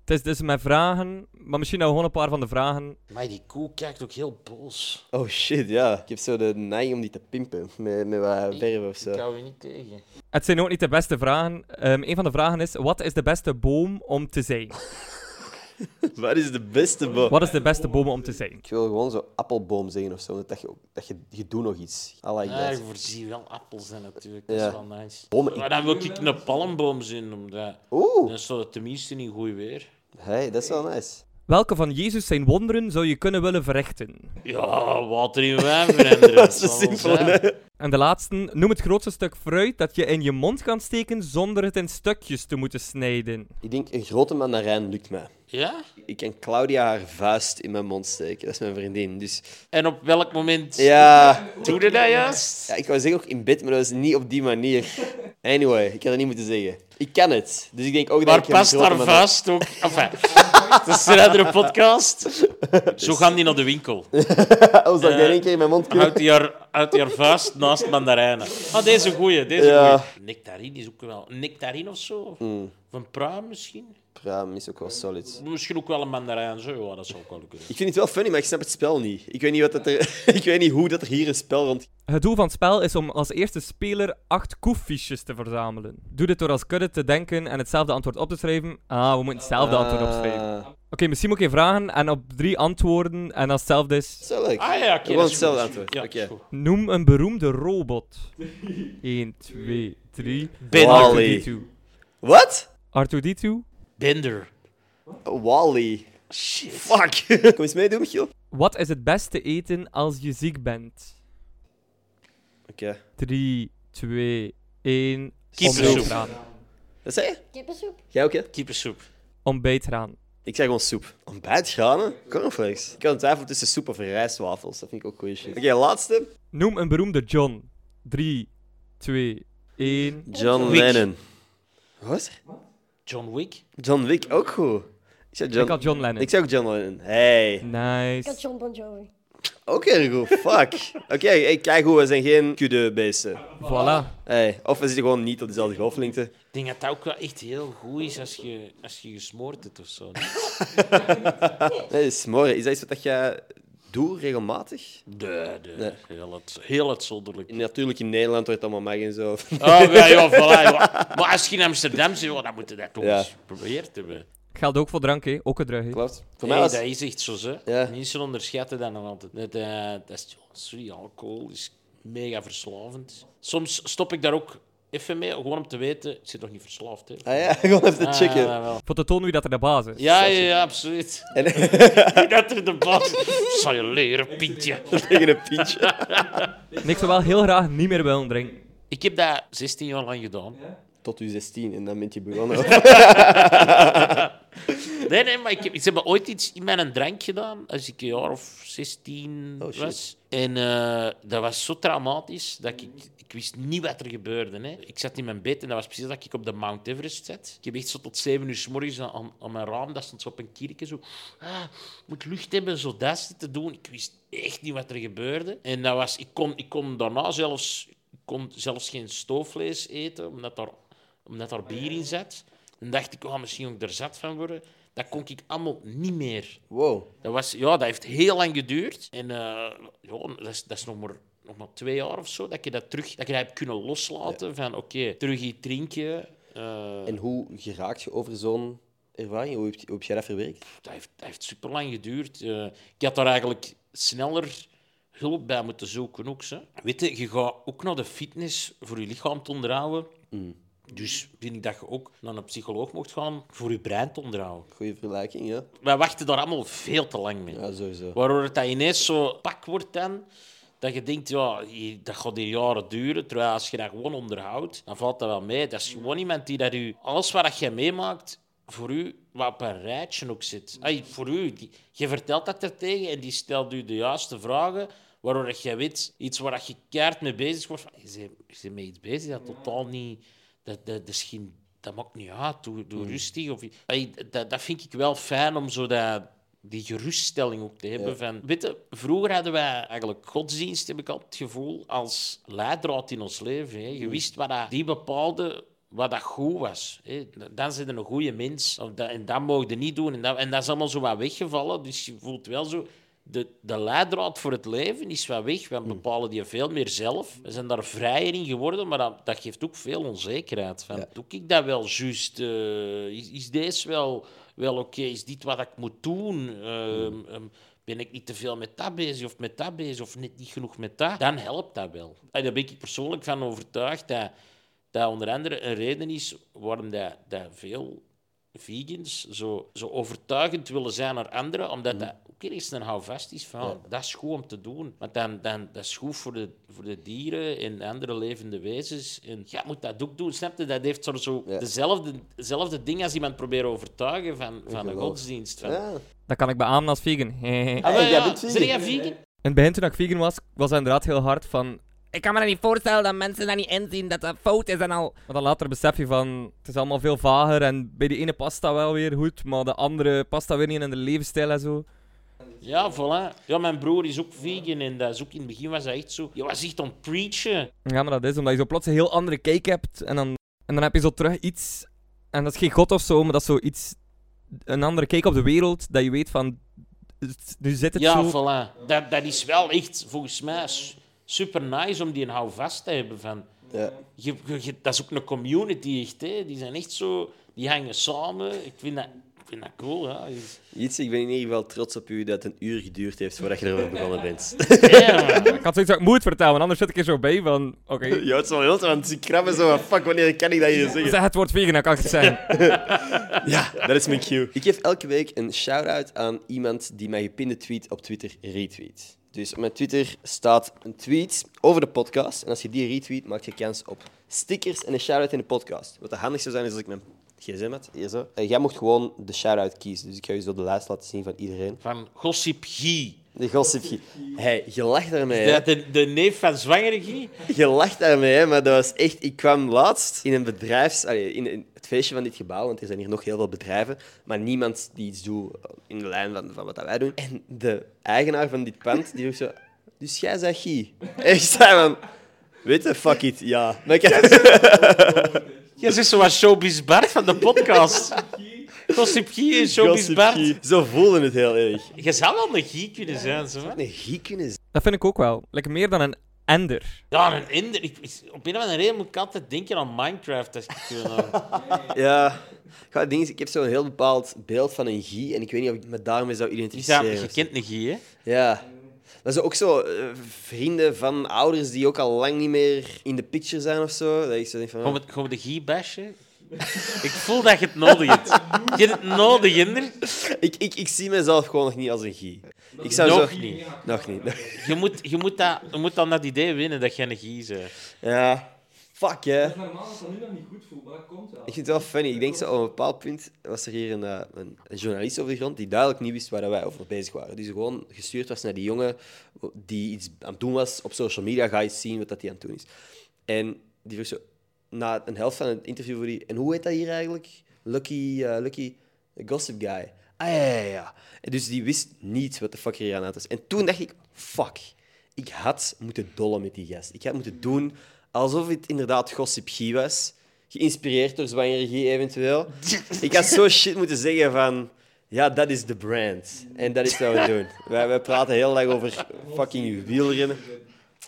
C: Het is dus met vragen, maar misschien nou gewoon een paar van de vragen.
B: Maar die koe kijkt ook heel boos.
A: Oh shit, ja. Ik heb zo de neiging om die te pimpen, met, met wat verven of zo.
B: Ik hou je niet tegen.
C: Het zijn ook niet de beste vragen. Ehm een van de vragen is: wat is de beste boom om te zijn?
A: Wat is de beste boom?
C: Wat is de beste boom om te zijn?
A: Ik wil gewoon zo appelboom zeggen of zo, omdat dat je, dat je, je doet nog iets. I like
B: Ja,
A: that.
B: ik voorzie wel appels en natuurlijk. Dat is
A: Ja.
B: wel nice.
A: Bomen in-
B: Maar dan wil ik een palmboom zien. Omdat...
A: Oeh,
B: Dan staat het tenminste in goed weer.
A: hey, dat is wel nice.
C: Welke van Jezus zijn wonderen zou je kunnen willen verrichten?
B: Ja, water in wijn veranderen. dat
A: is een
B: zal wel
A: simpele,
B: zijn.
C: En de laatste: noem het grootste stuk fruit dat je in je mond kan steken zonder het in stukjes te moeten snijden.
A: Ik denk, een grote mandarijn lukt mij.
B: Ja?
A: Ik kan Claudia haar vuist in mijn mond steken. Dat is mijn vriendin. Dus
B: En op welk moment
A: ja,
B: doe je dat juist?
A: ja ik wou zeggen ook in bed, maar dat is niet op die manier. Anyway, ik had dat niet moeten zeggen. Ik kan het. Dus ik denk ook dat
B: Maar
A: ik een
B: past
A: grote
B: daar
A: mandarijn-
B: vast ook. Enfin, het is een andere podcast. Zo gaan die naar de winkel.
A: Oh, zou ik dat in één keer in mijn mond kunnen?
B: Houdt die haar, houdt die haar vuist naast mandarijnen. Ah, deze goeie, deze
A: Ja. Mm.
B: goeie. Nectarine is ook wel... Een nectarine of zo? Of een pruim misschien?
A: Pruim is ook wel solid.
B: Misschien ook wel een mandarijn, zo. Ja, dat zou ook wel kunnen.
A: Ik vind het wel funny, maar ik snap het spel niet. Ik weet niet, wat dat er... ik weet niet hoe dat er hier een spel rond...
C: Het doel van het spel is om als eerste speler acht koefiches te verzamelen. Doe dit door als kudde te denken en hetzelfde antwoord op te schrijven. Ah, we moeten hetzelfde antwoord opschrijven. Oké,
A: Ah,
C: misschien moet je vragen en op drie antwoorden en als hetzelfde is...
A: Zo leuk.
B: Ah ja,
A: Gewoon
B: oké. dat is goed,
A: hetzelfde
B: dat is goed.
A: antwoord.
B: Ja,
A: Oké.
B: dat is goed.
C: Noem een beroemde robot. 1, 2, 3...
B: Ben-
A: Wall-E.
C: R2-D2.
A: Wat?
C: R2-D2?
B: Bender.
A: Wally.
B: Shit.
A: Fuck. Kom eens meedoen, Michiel. Oké.
C: Wat is het beste eten als je ziek bent? 3, 2, 1...
B: Kiepersoep.
C: Ontbijtraan.
A: Dat zei je?
D: Kippensoep.
A: Jij ook, hè?
B: Kippensoep.
C: Ontbijtraan.
A: Ik zeg gewoon soep. Ontbijtgranen? Cornflakes. Ik kan twijfelen tussen soep of rijstwafels. Dat vind ik ook goeie shit. Oké, laatste.
C: Noem een beroemde John. 3, 2, 1...
A: John
B: Wick.
A: Lennon. Wat?
B: John Wick.
A: John Wick, ook goed. Ik zei John...
C: Ik had John Lennon.
A: Ik zei ook John Lennon. Hey.
D: Ik had
C: Nice.
D: John Bon Jovi.
A: Ook heel goed. Fuck. Oké, hey, kijk hoe we zijn geen kudde beesten.
C: Voilà.
A: Hey, of we zitten gewoon niet op dezelfde golflengte.
B: Ik denk dat dat ook wel echt heel goed is als je, als je gesmoord hebt of zo.
A: Nee, smoren. Is dat iets wat jij doet regelmatig?
B: Nee, nee. Heel, het, heel uitzonderlijk.
A: Natuurlijk in Nederland wordt het allemaal mag en zo.
B: Oh, ja, ja, voilà, ja. Maar als je in Amsterdam zit, ja, dan moet je dat toch
A: Ja.
B: eens geprobeerd hebben.
C: Geldt ook voor drank, hè? Ook een drug, hè?
A: Klopt. Voor mij
B: Nee,
A: was...
B: dat is echt zo, hè.
A: Ja.
B: Mensen onderschatten dat nog altijd. Dat, eh, dat is, ja, sorry, alcohol is mega verslavend. Soms stop ik daar ook even mee, gewoon om te weten... Ik zit nog niet verslaafd, hè.
A: Ah ja, gewoon even te checken.
B: Ah, wel.
C: Voor te tonen wie dat er de baas is.
B: ja, ja, ja, absoluut.
A: En
B: dat er de baas... Zal je leren, pintje.
A: tegen een pintje.
C: En ik zou wel heel graag niet meer willen drinken.
B: Ik heb dat 16 jaar lang gedaan.
A: Tot u 16 en dan bent je begonnen.
B: Nee, nee, maar ik heb, ze hebben ooit iets in mijn drank gedaan als ik een jaar of 16
A: Oh, shit.
B: was. En eh, dat was zo traumatisch dat ik, ik wist niet wat er gebeurde. Hè. Ik zat in mijn bed en dat was precies dat ik op de Mount Everest zat. Ik heb echt zo tot 7 uur s morgens aan, aan, aan mijn raam, dat stond zo op een kerkje, zo, ah, moet lucht hebben, zo dat zit te doen. Ik wist echt niet wat er gebeurde. En dat was, ik kon, ik kon daarna zelfs, ik kon zelfs geen stoofvlees eten, omdat daar omdat daar bier in zat. Dan dacht ik, oh, misschien moet ik er zat van worden. Dat kon ik allemaal niet meer.
A: Wow.
B: Dat, was, ja, dat heeft heel lang geduurd. En eh, ja, dat, is, dat is nog maar nog maar twee jaar of zo, dat je dat terug dat je dat hebt kunnen loslaten. Van oké, terug iets drinken. eh,
A: En hoe geraakt je over zo'n ervaring? Hoe heb, je- hoe heb jij dat verwerkt?
B: dat heeft, dat heeft super lang geduurd. Eh, ik had daar eigenlijk sneller hulp bij moeten zoeken ook. Zo. Weet je, je gaat ook naar de fitness voor je lichaam te onderhouden. Dus vind ik dat je ook naar een psycholoog mocht gaan voor je brein te onderhouden.
A: Goeie vergelijking, ja?
B: Wij wachten daar allemaal veel te lang mee.
A: Ja, sowieso.
B: Waardoor het dat ineens zo pak wordt dan, dat je denkt, ja, hier- dat gaat hier jaren duren. Terwijl als je dat gewoon onderhoudt, dan valt dat wel mee. Dat is gewoon iemand die dat u, alles wat dat jij meemaakt, voor u wat op een rijtje ook zit. Ay, voor u, die- je vertelt dat er tegen en die stelt u de juiste vragen, waardoor dat jij weet, iets waar dat je keihard mee bezig wordt. van, Je bent- je bent mee iets bezig dat totaal niet... Dat, dat, dat is geen... Dat maakt niet uit, doe, doe rustig. Of, ay, dat, dat vind ik wel fijn om zo dat die geruststelling ook te hebben. Van, weet je, vroeger hadden wij eigenlijk godsdienst, heb ik altijd het gevoel, als leidraad in ons leven. Hè. Je wist wat dat, die bepaalde wat dat goed was. Hè. Dan zijn er een goede mens. Of dat, en dat mogen je niet doen. En dat, en dat is allemaal zo wat weggevallen. Dus je voelt wel zo... De, de leidraad voor het leven is wat weg. We bepalen die veel meer zelf. We zijn daar vrijer in geworden, maar dat, dat geeft ook veel onzekerheid. Van, Doe ik dat wel juist? Eh, is, is deze wel wel oké, is dit wat ik moet doen? Ehm, ehm, ben ik niet te veel met dat bezig of met dat bezig of net niet genoeg met dat? Dan helpt dat wel. En daar ben ik persoonlijk van overtuigd dat dat onder andere een reden is waarom dat, dat veel vegans zo, zo overtuigend willen zijn naar anderen,
A: Mm.
B: omdat dat ook ergens een houvast is van, dat is goed om te doen. Want dan, dan, dat is goed voor de, voor de dieren en andere levende wezens. En jij moet dat ook doen, snap je? Dat heeft zo, zo
A: Ja.
B: dezelfde, dezelfde ding als iemand proberen overtuigen van, van een
A: geloof.
B: godsdienst. Van,
A: Ja.
C: Dat kan ik beamen als vegan. In
B: Ah, wel,
A: Hey, jij bent
B: Zijn
A: vegan.
B: jij vegan?
C: het begin toen ik vegan was, was dat inderdaad heel hard van... Ik kan me dat niet voorstellen dat mensen dat niet inzien, dat dat fout is en al. Maar dan later besef je van, het is allemaal veel vager en bij de ene past dat wel weer goed, maar de andere past dat weer niet in de levensstijl en zo.
B: Ja, voilà. Ja, mijn broer is ook vegan en dat is ook in het begin was dat echt zo... Je was echt aan het preachen.
C: Ja, maar dat is omdat je zo plots een heel andere kijk hebt en dan, en dan heb je zo terug iets... En dat is geen god of zo, maar dat is zoiets... Een andere kijk op de wereld, dat je weet van... het- Nu zit het
B: ja,
C: zo.
B: voilà. Dat, dat is wel echt, volgens mij, s- super nice om die een houvast te hebben. Van.
A: Ja.
B: Je, je- je- dat is ook een community, echt. Hè. Die zijn echt zo... Die hangen samen. Ik vind dat, ik vind dat cool, ja.
A: Jits, ik ben in ieder geval trots op u dat het een uur geduurd heeft voordat je erover begonnen bent.
B: Damn, man.
C: Ik had zoiets dat ik moet vertellen, want anders zit ik er zo bij van... Oké,
A: Ja, het is wel heel want ze krabben zo van, fuck, wanneer kan ik dat hier zeggen?
C: zeg het woord vegan, dan kan ik het zeggen.
A: Ja, dat is mijn cue. Ik geef elke week een shout-out aan iemand die mijn gepinde tweet op Twitter retweet. Dus op mijn Twitter staat een tweet over de podcast. En als je die retweet, maak je kans op stickers en een shout-out in de podcast. Wat de handigste zou zijn, is als ik mijn gsm had. Hier zo. En jij mocht gewoon de shout-out kiezen. Dus ik ga je zo de lijst laten zien van iedereen.
B: Van Gossip Guy.
A: De gossip. Guy. Hey, je lacht daarmee. hè.
B: De, de, de neef van Zwangere Guy.
A: Je lacht daarmee, hè, maar dat was echt... Ik kwam laatst in een bedrijfs... allee, in, in het feestje van dit gebouw, want er zijn hier nog heel veel bedrijven, maar niemand die iets doet in de lijn van, van wat dat wij doen. En de eigenaar van dit pand, die vroeg zo... Dus jij zegt Guy? En ik zei van... Weet je, fuck it, ja. Maar ik had-
B: Jij zegt zoals Showbiz Bart van de podcast. Gossip Guy en Showbiz
A: Gossip
B: Bart.
A: Guy. Zo voelde het heel erg.
B: Je zou wel een Guy kunnen zijn, zo. man.
A: Een Guy kunnen zijn.
C: Dat vind ik ook wel. Lekker meer dan een ender.
B: Ja, een Inder. Ik, ik- op een of andere reden moet ik altijd denken aan Minecraft. Als ik, eh,
A: Ja... Ik, ga dingen, ik heb zo'n heel bepaald beeld van een Guy en ik weet niet of ik me daarmee zou
B: Je zou-
A: identificeren.
B: je kent een Guy, hè?
A: Ja. Dat zijn ook zo eh, vrienden van ouders die ook al lang niet meer in de picture zijn of zo. Dat ik zo denk van...
B: Gaan we, gaan we de Guy bashen? ik voel dat je het nodig hebt. Je hebt het nodig, Inder.
A: Ik, ik, ik zie mezelf gewoon nog niet als een Guy. Ik zou
B: Nog
A: zo...
B: niet.
A: Nog niet. nog-
B: Je moet, je, moet dat, je moet dan dat idee winnen dat jij een Guy bent.
A: Ja. Fuck, hè.
D: normaal dat dat nu nog niet goed voelt, maar dat komt wel.
A: Ik vind het wel funny. Ik denk zo op een bepaald punt was er hier een, eh, een, een journalist over de grond die duidelijk niet wist waar dat wij over bezig waren. Die ze gewoon gestuurd was naar die jongen die iets aan het doen was op social media. Ga eens zien wat dat die aan het doen is. En die vroeg zo, na een helft van het interview voor die... En hoe heet dat hier eigenlijk? Lucky, eh, Lucky Gossip Guy. Ah, ja, ja, ja. En dus die wist niet wat de fuck hier aan het was. En toen dacht ik, fuck. Ik had moeten dollen met die gast. Ik had moeten doen alsof het inderdaad Gossip Guy was. Geïnspireerd door Zwangerie eventueel. Ik had zo shit moeten zeggen van... Ja, dat is de brand. En dat is wat we doen. Wij, wij praten heel lang over fucking wielrennen.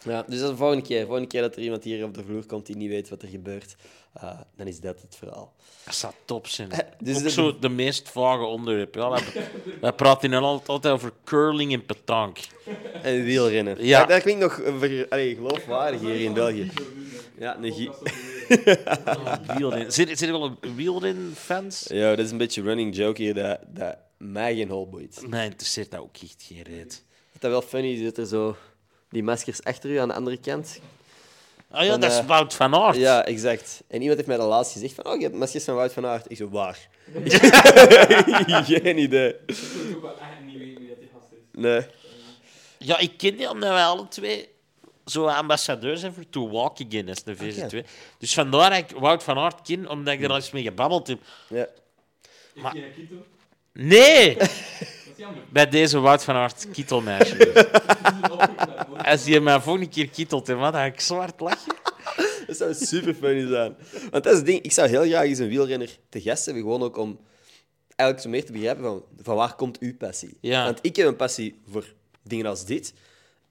A: Ja, dus dat is de volgende keer. volgende keer dat er iemand hier op de vloer komt die niet weet wat er gebeurt, eh, dan is dat het verhaal.
B: Dat zou top zijn.
A: dus
B: Ook
A: de-
B: zo de meest vage onderwerp. Ja, wij, wij praten in Nederland altijd over curling en petanque.
A: En wielrennen.
B: Ja.
A: Dat, dat klinkt nog eh, ver- allee, geloofwaardig hier in België. Ja, een gie-
B: Wielren. Zijn, zijn er wel een wielrenfans?
A: Ja, dat is een beetje running joke hier dat, dat mij geen hol boeit.
B: Mij interesseert dat ook echt geen reet.
A: Wat dat wel funny is, zit er zo die maskers achter u aan de andere kant.
B: Ah ja,
A: Dan,
B: dat is
A: eh,
B: Wout van Aert.
A: Ja, exact. En iemand heeft mij dat laatst gezegd van, oh, je hebt maskers van Wout van Aert. Ik zo, waar? geen idee.
D: Ik weet ook echt niet weten wie dat die gast is.
A: Nee.
B: Ja, ik ken die omdat wij alle twee zo ambassadeurs zijn voor To Walk Again, dat is de VZ2. Dus vandaar dat ik Wout van Aert ken, omdat ik er al eens mee gebabbeld heb.
A: Ja.
D: Ik
B: Maar-
D: ken Kito.
B: Nee!
D: Dat is jammer.
B: Bij deze Wout van Aert kietelmeisje.
D: Dat is een opgeknapt woord.
B: Als je mij volgende keer kietelt, hè, man, dan ga ik zwart lachen.
A: Dat zou super funny zijn. Want dat is het ding, ik zou heel graag eens een wielrenner te gast hebben, gewoon ook om eigenlijk zo meer te begrijpen van, van waar komt uw passie?
B: Ja.
A: Want ik heb een passie voor dingen als dit.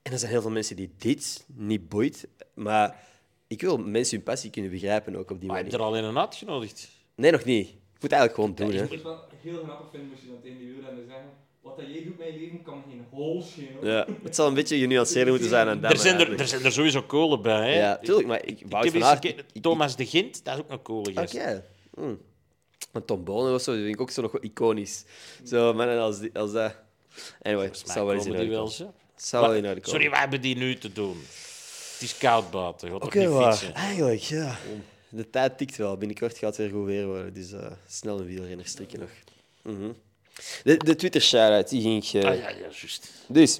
A: En er zijn heel veel mensen die dit niet boeit, maar ik wil mensen hun passie kunnen begrijpen ook op die
B: Maar heb je
A: manier.
B: er al in een uitgenodigd?
A: Nee, nog niet. Ik moet het eigenlijk gewoon doen, hè.
D: Ik moet wel heel grappig vinden moest je dan tegen die wielrenner zeggen. Wat dat jij doet mijn leven kan geen hol schelen.
A: Ja, het zal een beetje genuanceerder moeten zijn dan dat.
B: er, zijn
A: maar
B: er, er
A: eigenlijk.
B: zijn er sowieso kolen bij. Hè?
A: Ja, tuurlijk, maar ik...
B: Ik
A: Wout
B: heb
A: van
B: eens een
A: Aert,
B: keer-
A: ik- ik-
B: Thomas de Gint, dat is ook een coole gast.
A: Oké. Hm. Maar Tom Bonen of zo, die vind ik ook zo nog wel iconisch. Zo, mannen als, die, als dat... Anyway, het
B: Maar
A: zou wel eens in
B: komen die
A: orde
B: wel
A: komen.
B: eens, hè?
A: Het zou wel in orde komen.
B: Sorry, wat hebben die nu te doen? Het is koud buiten, je gaat
A: Oké,
B: toch niet
A: waar.
B: fietsen?
A: Eigenlijk, ja. De tijd tikt wel. Binnenkort gaat het weer goed weer worden. Dus eh, snel een wielrenner strikken nog. Mhm. De, de Twitter-shout-out, die ging ik... eh,
B: Ah, ja, ja, juist.
A: Dus,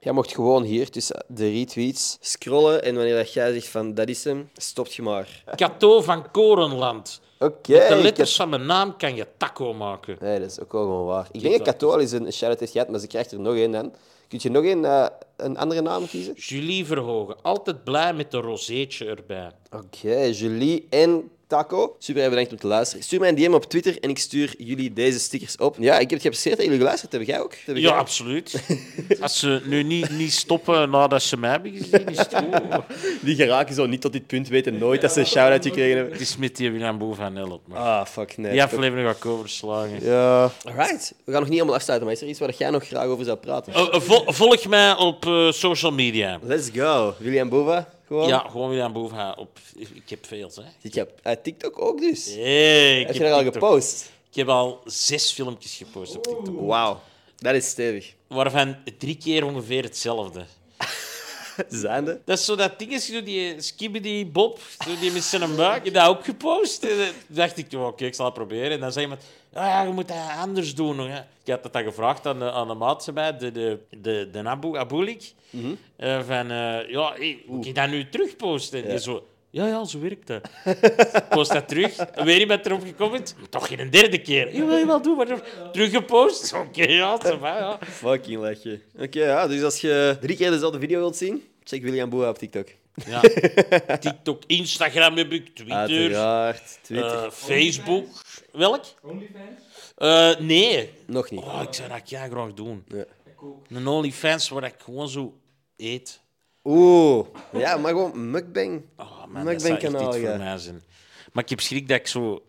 A: jij mocht gewoon hier tussen de retweets scrollen. En wanneer dat jij zegt van, dat is hem, stop je maar.
B: Cato van Korenland.
A: Oké. ik
B: Met de
A: heb-
B: letters van mijn naam kan je taco maken.
A: Nee, dat is ook wel gewoon waar. Ik denk dat Kato al eens een shout-out heeft gehad, maar ze krijgt er nog één dan. Kun je nog één, eh, een andere naam kiezen?
B: Julie Verhogen, altijd blij met een rozeetje erbij.
A: Oké, Julie en Taco. Super bedankt om te luisteren. Stuur mij een DM op Twitter en ik stuur jullie deze stickers op. Ja, ik heb het geapprecieerd dat jullie geluisterd hebben. Jij ook? Dat heb ik
B: Ja,
A: ook.
B: absoluut. Als ze nu niet, niet stoppen nadat ze mij hebben gezien, is het goed. hoor.
A: Die geraken zo niet tot dit punt, weten nooit dat ze een shout-out gekregen hebben.
B: Het is met die Willem Boe van Nellop. maar
A: Ah, fuck, nee.
B: Die aflevering ga ik overslagen.
A: Ja. Alright, we gaan nog niet helemaal afsluiten, maar is er iets waar jij nog graag over zou praten?
B: Eh, eh, vol- volg mij op eh, social media.
A: Let's go. William Bova, gewoon.
B: Ja, gewoon Willem Boe van op. Ik heb veel, hè.
A: Ik heb uit TikTok ook dus.
B: Hey, ik
A: heb je
B: heb
A: daar al
B: TikTok.
A: gepost?
B: Ik heb al zes filmpjes gepost op TikTok.
A: Wauw, dat is stevig.
B: Waarvan drie keer ongeveer hetzelfde.
A: Zijnde?
B: Dat is zo dat dingetje, zo die skibidi Bob, zo die met zijn buik. Ik heb dat ook gepost. En dan dacht ik, oh, oké, ik zal het proberen. En dan zei iemand, ah, ja, je moet dat anders doen. hoor, Hè. Ik had dat dan gevraagd aan de, aan de maat van mij, de, de, de, de Abu, Abulik. Eh, van, eh, ja, hey, hoe kan ik dat nu terugposten? En die zo, ja, ja, zo werkt dat. Ik Post dat terug. En Weer iemand erop gekomen. Toch geen derde keer. Jawel, jawel, doe maar. Teruggepost. Oké, ja, ça va, ja.
A: Fucking lachje. Oké, ja, dus als je drie keer dezelfde video wilt zien, check William Boa op TikTok.
B: Ja. TikTok, Instagram heb ik,
A: Ah,
B: Twitter,
A: Uiteraard. Twitter.
B: eh, Facebook. Welk?
D: Onlyfans?
B: Eh, nee.
A: Nog niet.
B: Oh, ik zou dat ja graag doen.
D: Ik ook.
B: Een OnlyFans waar ik gewoon zo eet.
A: Oeh. Ja, maar gewoon mukbang.
B: Oh man,
A: Maar ik
B: dat zou
A: ben
B: echt
A: kanaal,
B: iets
A: ja.
B: voor mij zijn. Maar ik heb schrik dat ik zo,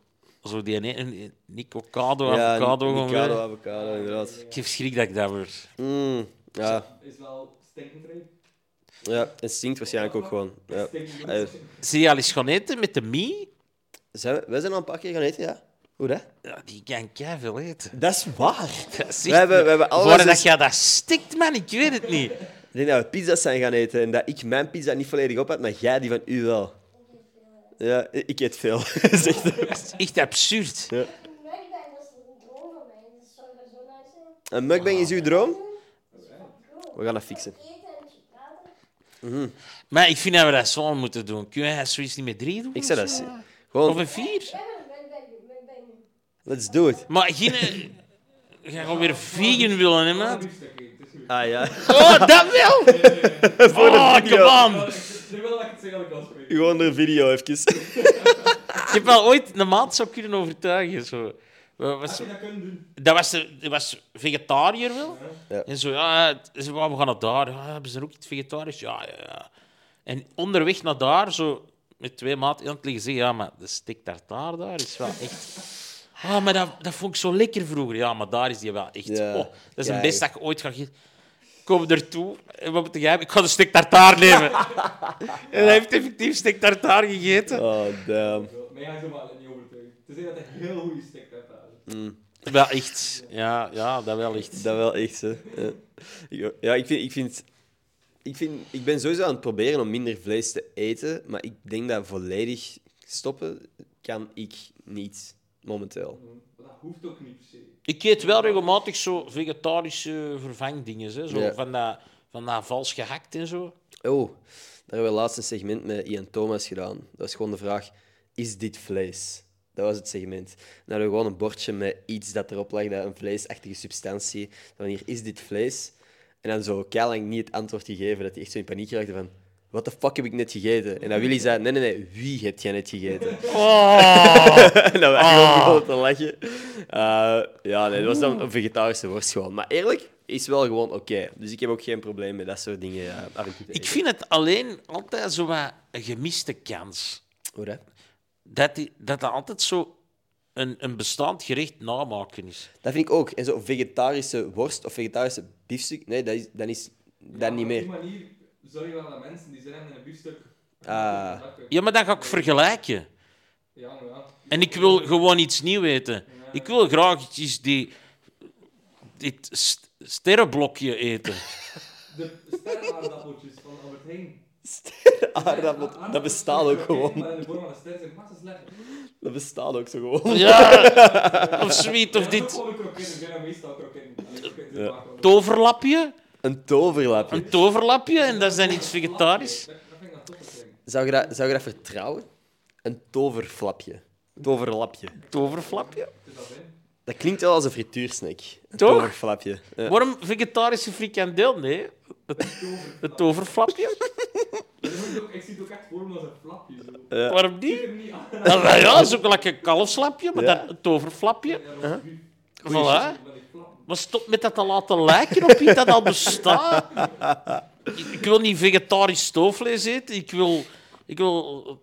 B: zo die ene- een Nicocado,
A: ja,
B: Ah, avocado gewoon
A: avocado,
B: weer-
A: avocado, inderdaad.
B: Ik heb schrik dat ik dat word.
A: Mm, ja,
D: Is wel stinkend reep.
A: ja, het stinkt waarschijnlijk ook gewoon. Ja.
D: Stinkend
A: Eh,
B: Zie je al eens gaan eten met de Mie?
A: zijn we, wij zijn al een paar keer gaan eten, ja. Hoe dat?
B: Ja, die kan keiveel eten.
A: Dat is waar.
B: Dat is
A: We
B: echt-
A: hebben, we hebben alles...
B: Waar dat
A: eens-
B: jij dat stikt, man, ik weet het niet.
A: Ik denk dat we pizza's zijn gaan eten en dat ik mijn pizza niet volledig op had, maar jij die van u wel. Ja, ik ik eet veel. Zegt
B: Dat is echt absurd.
E: Mukbang was een droom van mij. Dat zou er zo naar zijn.
A: Een mukbang is uw droom? We gaan dat fixen.
E: Eten en praten.
B: Maar ik vind dat we dat zo moeten doen. Kun jij zoiets niet met drie doen?
A: Ik zou
B: of
A: dat
B: zo?
A: zeggen.
B: Of
A: Gewoon,
B: een vier?
E: Ik heb een mukbang, mukbang.
A: let's do it.
B: Maar geen... eh, Je gaat weer vegan willen, hè, man?
D: het is goed.
A: Ah ja.
B: Oh, dat wel! Oh, come on!
D: Nu wil ik het zeggen dat ik al spreek.
A: Gewoon de video even.
B: Ik heb wel ooit een maat zou kunnen overtuigen. Zo. Wat was
D: Had je dat kunnen doen?
B: dat was, de- dat was vegetariër wel.
A: Ja.
B: En zo, ja, het- ze, "Waar, we gaan naar daar. Ja, hebben ze er ook iets vegetarisch? Ja, ja, ja. En onderweg naar daar, zo met twee maten aan het liggen zeggen, ja, maar de stik tartaar daar is wel echt... Ah, maar dat, dat vond ik zo lekker vroeger. Ja, maar daar is die wel echt...
A: Ja,
B: Oh, dat is
A: kijk.
B: een best dat ik ooit ga eten. Kom ertoe. En wat moet jij hebben? Ik ga een stuk tartaar nemen. En hij heeft effectief stuk tartaar gegeten.
A: Oh, damn.
D: Zo, Mij ga je zomaar niet overtuigen. Te zeggen dat hij heel goede stick hebt daar.
B: Wel echt. Ja, ja, dat wel echt.
A: Dat wel echt, hè. Ja. Ik- Ja, ik vind... Ik vind ik, vind, ik ben sowieso aan het proberen om minder vlees te eten, maar ik denk dat volledig stoppen kan ik niet, momenteel.
D: Maar dat hoeft ook niet per se.
B: Ik eet wel regelmatig zo vegetarische vervangdingen. Hè? Zo
A: Ja.
B: van, dat, van dat vals gehakt en zo.
A: Oh, daar hebben we laatst een segment met Ian Thomas gedaan. Dat was gewoon de vraag, is dit vlees? Dat was het segment. Dan hadden we gewoon een bordje met iets dat erop lag, dat een vleesachtige substantie. Dan hier, is dit vlees? En dan zo lang niet het antwoord gegeven, dat hij echt zo in paniek raakte van... What the fuck heb ik net gegeten? En dan Willy zei, nee, nee, nee, wie heb jij net gegeten? en dan waren we gewoon te lachen. Eh, ja, nee, dat was dan een vegetarische worst gewoon. Maar eerlijk, is wel gewoon oké. Dus ik heb ook geen probleem met dat soort dingen. eh, arm te
B: Ik
A: eten.
B: vind het alleen altijd zo wat een gemiste kans.
A: Hoe dat?
B: Dat die, dat, dat altijd zo een, een bestaand gerecht namaken is.
A: Dat vind ik ook. En zo vegetarische worst of vegetarische biefstuk, nee, dat is, dan is dat
D: Ja,
A: niet
D: maar
A: meer.
D: Op die manier zorg je wel dat mensen die zijn in een biefstuk...
A: Ah.
B: Ja, maar dan ga ik vergelijken.
D: Ja, maar ja.
B: En ik wil gewoon iets nieuws eten. Ik wil graag iets die... Dit st- sterrenblokje eten.
D: De sterrenaardappeltjes van Albert Heijn.
A: Aardappel, Ah, dat bestaat ook gewoon.
D: Maar in de vorm van een ster zijn massa slecht.
A: Dat bestaat ook zo gewoon.
B: Ja, of sweet, of dit.
D: Gewoon kroketten, ik ben dat meestal kroketten. Allee, kroketten zijn vaak wel-
B: Toverlapje.
A: Een toverlapje.
B: Een toverlapje en dat is dan iets vegetarisch.
D: Dat dat vind ik dan toch een ding.
A: Zou je dat, zou je dat vertrouwen? Een toverflapje. Toverlapje.
B: Toverflapje?
D: Het is dat in.
A: Dat klinkt wel als een frituursnack. Een
B: Toch?
A: toverflapje. Ja.
B: Waarom vegetarische frikandel? Nee, het toverflapje.
D: Dat is ook- Ik zie het ook echt voor me als een flapje. Zo. Ik
B: Waarom niet?
D: zie hem niet aan.
B: Ah, nou ja, zo gelijk een kalfslapje, maar
A: Ja.
B: dan een toverflapje.
D: Ja, dat is goed.
B: Voilà.
D: Maar die flap-
B: Maar stop met dat te laten lijken op iets dat al bestaat. Ik, ik wil niet vegetarisch stoofvlees eten. Ik wil, ik wil
D: Oké,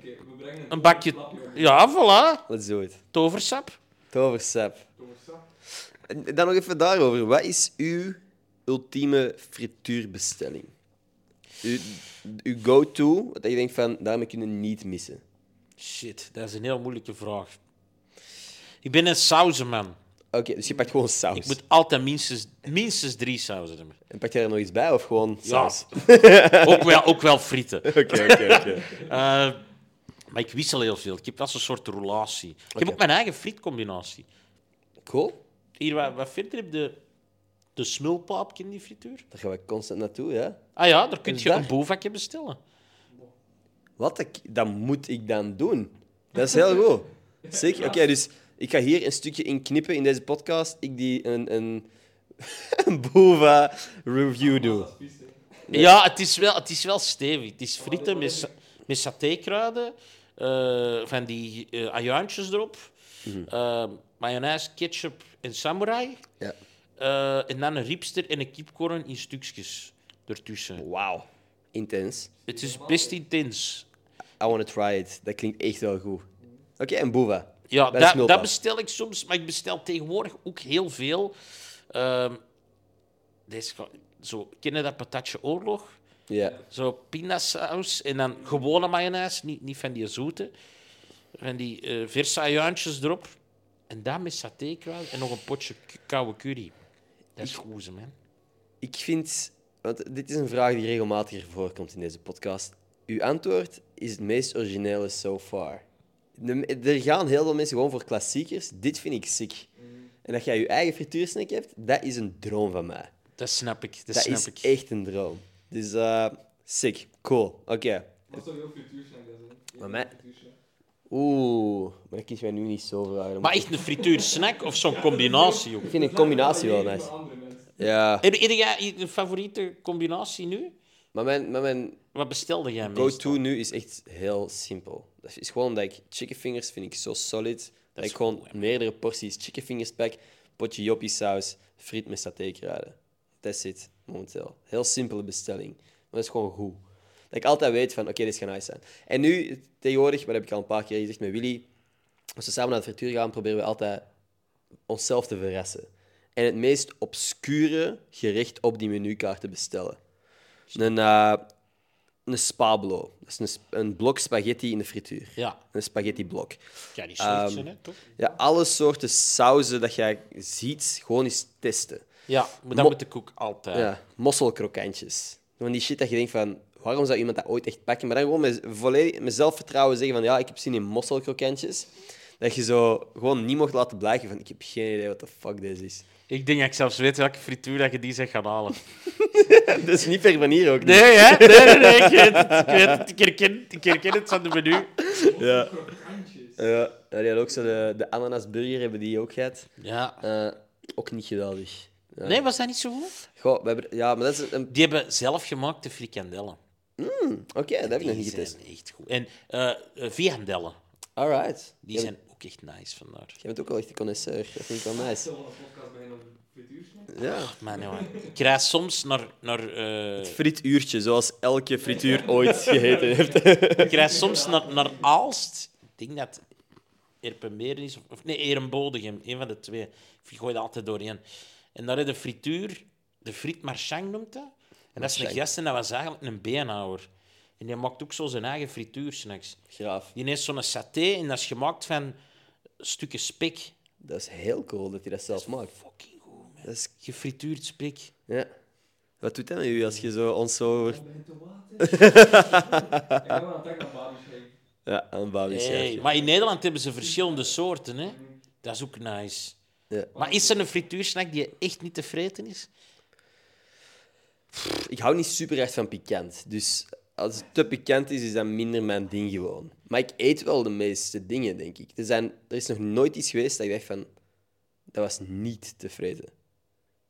D: we brengen
B: een bakje...
D: flapje op.
B: Ja, voilà.
A: Let's do it.
B: Toversap.
A: Toversap.
D: Toversap.
A: En Dan nog even daarover. Wat is uw ultieme frituurbestelling? Uw, uw go-to, wat je denkt van, daarmee kunnen we niet missen.
B: Shit, dat is een heel moeilijke vraag. Ik ben een sauzenman.
A: Oké, dus je pakt gewoon saus.
B: Ik moet altijd minstens, minstens drie sauzen hebben.
A: En pak je er nog iets bij of gewoon
B: Ja,
A: saus?
B: ook wel, ook wel frieten.
A: Oké, oké, oké.
B: Eh, maar ik wissel heel veel. Ik heb wel zo'n soort roulatie. Ik heb
A: Oké.
B: ook mijn eigen frietcombinatie.
A: Cool.
B: Hier, wat, wat verder heb je de, de smulpaap in die frituur.
A: Daar gaan we constant naartoe, ja.
B: Ah ja, daar kun
A: Is
B: je
A: daar?
B: een bovakje bestellen.
A: Wat ik, dat moet ik dan doen? Dat is heel goed. Zeker. Oké, dus ik ga hier een stukje in knippen in deze podcast. Ik die een, een, een boeva review doe.
D: Dat is vies, hè.
B: Ja, het is, wel, het is wel stevig. Het is frieten met, sa- met satékruiden, eh, van die eh ajuintjes erop,
A: Mhm.
B: eh, mayonaise, ketchup en samurai.
A: Ja.
B: Eh, en dan een riepster en een kiepkorn in stukjes ertussen.
A: Wauw. Intens.
B: Het is best intens.
A: I want to try it. Dat klinkt echt wel goed. Oké, een boeva.
B: Ja,
A: Bij de
B: dat,
A: smulpaap.
B: dat bestel ik soms, maar ik bestel tegenwoordig ook heel veel. Ehm, deze, ga- zo, kennen dat patatje oorlog?
A: Ja.
B: Zo pindasaus en dan gewone mayonaise, niet, niet van die zoete. Van die eh verse ajuintjes erop. En dan met satékruid en nog een potje k- koude curry. Dat is goed, hè, man.
A: Ik vind... Want dit is een vraag die regelmatig voorkomt in deze podcast. Uw antwoord is het meest originele so far. De- er gaan heel veel mensen gewoon voor klassiekers. Dit vind ik sick. En dat jij je eigen frituursnack hebt, dat is een droom van mij.
B: Dat snap ik, dat,
A: Dat
B: snap
A: is
B: ik.
A: echt een droom. Dus eh, sick. Cool. Oké.
D: Maar sorry, ook frituursnack, dat is een-
A: Maar mij-
D: frituursnack.
A: Oeh, maar dat kies mij nu niet zo vragen.
B: Maar echt een frituursnack of zo'n combinatie, joh.
A: Ik vind een combinatie wel
D: Maar
A: nice.
D: andere mensen.
A: Ja,
B: Heb heb jij een favoriete combinatie nu?
A: maar mijn, maar mijn
B: Wat bestelde jij meestal?
A: go-to nu is echt heel simpel. Dat is gewoon dat ik chicken fingers vind ik zo solid. Dat ik gewoon meerdere porties chicken fingers pak, potje joppie saus, friet met satékruiden. That's it, momenteel. Heel simpele bestelling. Maar dat is gewoon goed. Dat ik altijd weet van, oké, dit gaat nice zijn. En nu, tegenwoordig, maar dat heb ik al een paar keer gezegd met Willy, als we samen naar de frituur gaan, proberen we altijd onszelf te verrassen. En het meest obscure gerecht op die menukaart te bestellen. Een, eh, een spablo. Dat is een, sp- een blok spaghetti in de frituur.
B: Ja,
A: Een spaghetti blok.
B: ja die slecht
A: Ehm,
B: zijn, hè, toch?
A: Ja, alle soorten sauzen dat jij ziet, gewoon eens testen.
B: Ja, maar dat
A: mo-
B: moet de koek altijd.
A: Ja, mosselkrokantjes. Van die shit dat je denkt van, waarom zou iemand dat ooit echt pakken? Maar dan gewoon met, volledig, met zelfvertrouwen zeggen van, ja, ik heb zin in mosselkrokantjes. Dat je zo gewoon niet mocht laten blijken van, ik heb geen idee wat de fuck deze is.
B: Ik denk dat ik zelfs weet welke frituur dat je die zegt gaan halen.
A: Dat is niet ver van hier ook.
B: Nee, hè? Nee, nee, nee. Ik weet het. Ik, weet het. Ik, herken, ik herken het van de menu.
A: Ja. Ja, ja, die had ook zo de, de ananasburger, hebben die ook gehad.
B: Ja.
A: Eh, ook niet geweldig. Ja.
B: Nee, was dat niet zo goed?
A: Goh, we hebben, ja, maar dat is een...
B: Die hebben zelfgemaakte frikandellen.
A: Oké, dat heb ik nog niet
B: Die
A: getest.
B: zijn echt goed. En eh eh, viandellen.
A: Alright.
B: Die zijn ook echt nice vandaar.
A: Je bent ook wel echt een connoisseur. Dat vind ik wel nice.
D: Zullen we een podcast beginnen over frituursnack?
A: Ja.
B: Man, jongen. nou, Ik krijg soms naar... naar eh,
A: Frituurtje, zoals elke frituur ooit geheten heeft.
B: ik krijg soms naar, naar Aalst. Ik denk dat Erpenmeer is. Of, of nee, Erenbodegem. Een van de twee. Ik gooi dat altijd doorheen. En daar heb je de frituur. De friet Marchang noemt dat. En dat is een
A: Marchang.
B: gast en dat was eigenlijk een beenhouwer. En die maakt ook zo zijn eigen frituursnacks.
A: Graaf.
B: Die heeft zo'n saté en dat is gemaakt van stukken spek.
A: Dat is heel cool dat hij dat zelf maakt.
B: Fucking goed, man.
A: Dat is...
B: Gefrituurd spek.
A: Ja. Wat doet dat met u als je zo ons zo... over-
D: Dat begint te water. Ik ben wel aan het denken aan Barbie Shake.
A: Ja, aan Babi
B: Hey, maar in Nederland hebben ze verschillende soorten, hè. Dat is ook nice.
A: Ja.
B: Maar is er een frituursnack die echt niet te vreten is?
A: Ik hou niet super erg van pikant. Dus als het te pikant is, is dat minder mijn ding gewoon. Maar ik eet wel de meeste dingen, denk ik. Er, zijn... er is nog nooit iets geweest dat ik dacht van... Dat was niet tevreden.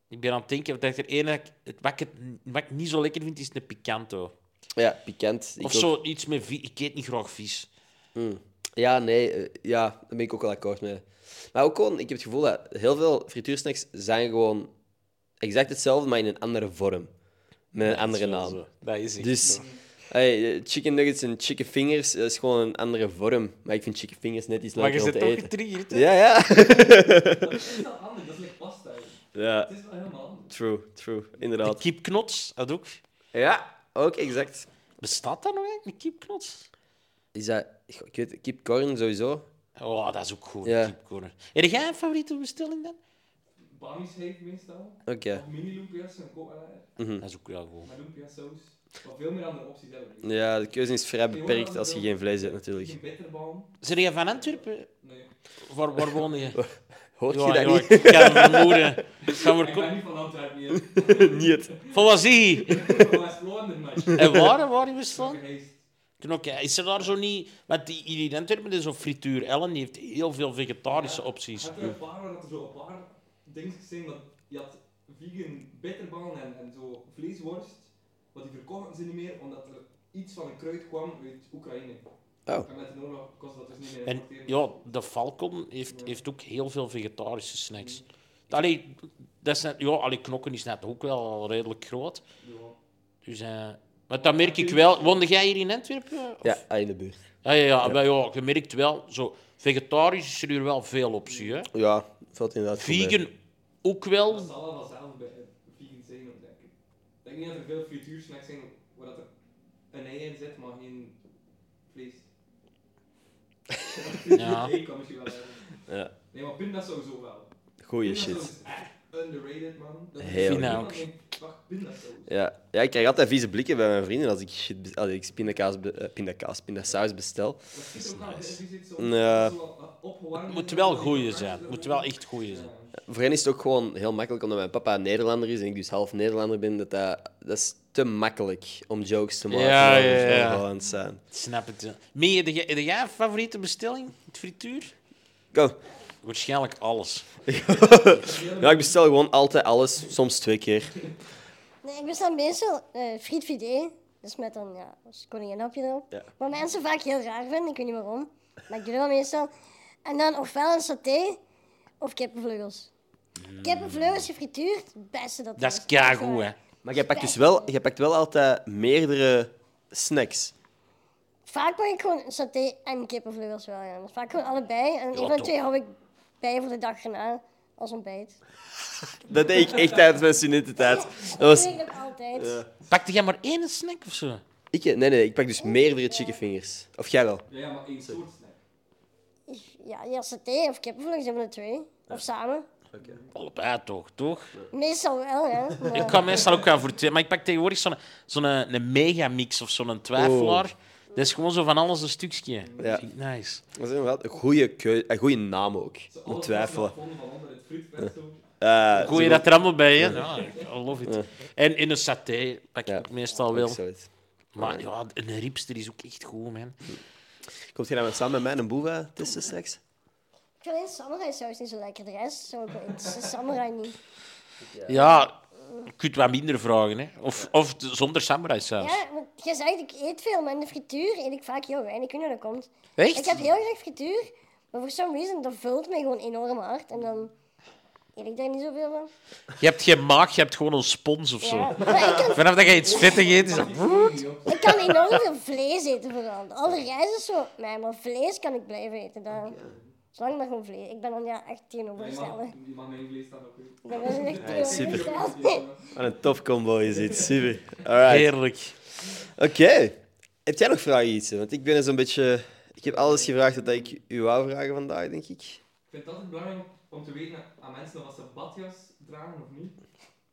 B: Ik ben aan het denken dat ik er één... dat ik- het- Wat ik, het, wat ik niet zo lekker vind, is een picanto.
A: Ja, pikant. ik
B: Of
A: ook.
B: zo iets met vis. Ik eet niet graag vis. Hmm.
A: Ja, nee, eh, ja, daar ben ik ook wel akkoord mee. Maar ook gewoon, ik heb het gevoel dat heel veel frituursnacks zijn gewoon exact hetzelfde, maar in een andere vorm. Met een andere naam.
B: Dat is echt
A: Dus
B: zo.
A: hey, eh, chicken nuggets en chicken fingers eh, is gewoon een andere vorm. Maar ik vind chicken fingers net iets
B: Maar je
A: leuker om
B: zit
A: te
B: toch
A: eten.
B: getriggerd, hè?
A: Ja, ja.
D: Dat is wel handig, dat is like pasta. eigenlijk.
A: Ja,
D: Het is wel helemaal anders.
A: true, true.
B: De
A: Inderdaad.
B: kipknots, dat ook.
A: Ja, ook exact.
B: Bestaat dat nog eigenlijk, een kipknots?
A: Is dat... Goh, Ik weet, kipcorn sowieso.
B: Oh, dat is ook goed,
A: Ja.
B: kipcorn. Heb jij een favoriete bestelling dan?
D: Barbie Shake meestal.
A: Oké.
D: Of mini lumpia's en eh, kokosij.
B: Dat is ook wel goed.
D: Maar lumpia's saus. Maar veel meer andere opties hebben we niet.
A: Ja, de keuze is vrij beperkt als je geen vlees hebt, natuurlijk.
D: Geen bitterbal.
B: Zijn jij van Antwerpen?
D: Nee. Ik
B: Waar, waar woon je?
A: Hoort je
B: Ja,
A: dat
B: ja,
A: niet?
B: Ik kan het vermoeden. Van waar
D: ben
B: kom-
D: niet van Antwerpen hier. Ik
A: Niet.
B: Van wat zie je?
D: ben van West-Vlaanderen, man. Ik
B: En waar, waar in
D: ben
B: Westland?
D: geheest.
B: Is er daar zo niet... Want die, hier in Antwerpen is zo'n frituur. Ellen die heeft heel veel vegetarische opties.
D: Had er een paar, had er zo een paar dingen gezien dat je had vegan bitterballen en, en zo vleesworst, maar die verkochten ze niet meer omdat er iets van een kruid kwam uit Oekraïne.
A: Oh.
D: En met de oorlog kost dat dus niet meer
B: En
D: importeren.
B: ja, de Falcon heeft, heeft ook heel veel vegetarische snacks. Allee, dat is net, ja, allee, knokken is net ook wel redelijk groot.
D: Ja.
B: Dus, eh maar dat merk ik wel. Woonde jij hier in Antwerpen? Of-
A: Ja, ah, in de buurt.
B: Ja, ja, ja, maar ja, je merkt wel, zo, vegetarisch is er hier wel veel optie. Hè?
A: Ja, valt inderdaad goed mee.
B: Vegan ook
D: Dat
B: wel.
D: zal wel vanzelf bij vegan zijn, denk ik. Ik denk niet dat er veel frituursnacks zijn waar dat er een ei in zit, maar geen vlees.
B: Ja.
D: Ei kan misschien wel hebben.
A: Ja.
D: Nee, maar pinda sowieso wel.
A: Goeie
D: Pindasaus
A: shit.
D: is echt underrated, man. Dat is-
A: Heel
D: Niemand
B: goed.
D: denkt, wacht, pindasaus.
A: Ja. ja, ik krijg altijd vieze blikken bij mijn vrienden als ik, shit, be- als ik pindakaas, be- eh, pindakaas, pindasaus bestel.
D: Dat is ook wel
B: nice.
D: die zit zo-
A: Ja.
D: zo wat opgewarmd
B: Het
D: in.
B: moet wel goeie zijn. Het moet wel echt goeie zijn.
A: Voor hen is het ook gewoon heel makkelijk, omdat mijn papa Nederlander is en ik dus half Nederlander ben, dat, dat, dat is te makkelijk om jokes te maken.
B: Ja,
A: over
B: ja, ja.
A: Holland zijn.
B: Ik snap het. ja. Mee, heb jij- heb jij een favoriete bestelling? Het frituur?
A: Go.
B: Waarschijnlijk alles.
A: Ja, ik bestel gewoon altijd alles, soms twee keer.
E: Nee, ik bestel meestal eh friet fidé. Dus met een ja, een koninginnenhapje erop.
A: Ja.
E: Wat mensen vaak heel raar vinden, ik weet niet waarom. Maar ik doe dat wel meestal. Eh, En dan ofwel een saté of kippenvleugels. Kippenvleugels gefrituurd, het beste dat er
B: Dat is keigoed, hè.
A: Maar jij pakt dus wel, jij pakt wel altijd meerdere snacks.
E: Vaak pak ik gewoon saté en kippenvleugels wel, ja. Maar vaak gewoon allebei. En een van de
B: toch.
E: twee hou ik bij voor de dag erna als ontbijt.
A: Dat deed ik echt tijdens mijn studententijd. Dat was...
E: Dat doe ik ook altijd.
B: Pakte jij maar één snack of zo?
A: Ik, nee, nee, ik pak dus meerdere chicken fingers. Of jij wel?
D: Ja, ja, maar één soort snack.
E: Ja, ja, saté of kippenvleugels, een van de twee. Of samen.
B: Allebei toch, toch?
E: Meestal wel, ja. Maar-
B: Ik kan meestal ook gaan voor twee, maar ik pak tegenwoordig zo'n zo'n eh, een megamix of zo'n twijfelaar. Dat is gewoon zo van alles een stukje.
A: Oh. Ja.
B: Dat vind ik nice.
A: Dat is inderdaad een goede, keu- een goede naam ook.
D: Zo alles
A: Om
D: wat
A: twijfelen.
D: ik nog vond van onder het frietvet zo.
A: Eh,
B: Gooi je
A: zo-
B: dat er allemaal bij, hè? Ja, I love it. En in een saté pak ik
A: Ja.
B: ook meestal
A: Ook
B: wel.
A: zoiets.
B: Maar ja, een ribster is ook echt goed, man.
A: Komt je dan samen met mij een boeva testen straks?
E: Ik vind alleen samurai saus niet zo lekker. De rest is ook wel iets. Samurai niet.
B: Ja, je kunt wat minder vragen, hè. Of, of de- zonder samurai saus.
E: Ja, want jij zegt ik eet veel, maar in de frituur eet ik vaak heel weinig. Ik weet niet hoe dat komt. Ik
B: Echt?
E: heb heel graag frituur, maar voor some reason, dat vult mij gewoon enorm hard. En dan eet ik daar niet zoveel van.
B: Je hebt geen maag, je hebt gewoon een spons of
E: Ja.
B: zo.
E: Maar ik, kan,
B: Vanaf dat je iets vettig eet, is dat...
E: ik kan enorm veel vlees eten vooral. Alle rijst is zo... Nee, maar vlees kan ik blijven eten. Dan. Zolang maar gewoon vlees. Ik ben dan ja echt
D: Je mag,
E: tegenovergestelde.
D: je mag mijn vlees dan ook weer.
E: Dan ben ik echt
A: super.
E: tegenovergesteld.
A: Wat een tof combo is dit. Super. Alright.
B: heerlijk.
A: Oké. Heb jij nog vragen iets? Want ik ben zo'n beetje... Ik heb alles gevraagd dat ik u wou vragen vandaag, denk ik.
D: Ik vind het altijd belangrijk om te weten aan mensen of ze badjas dragen of niet.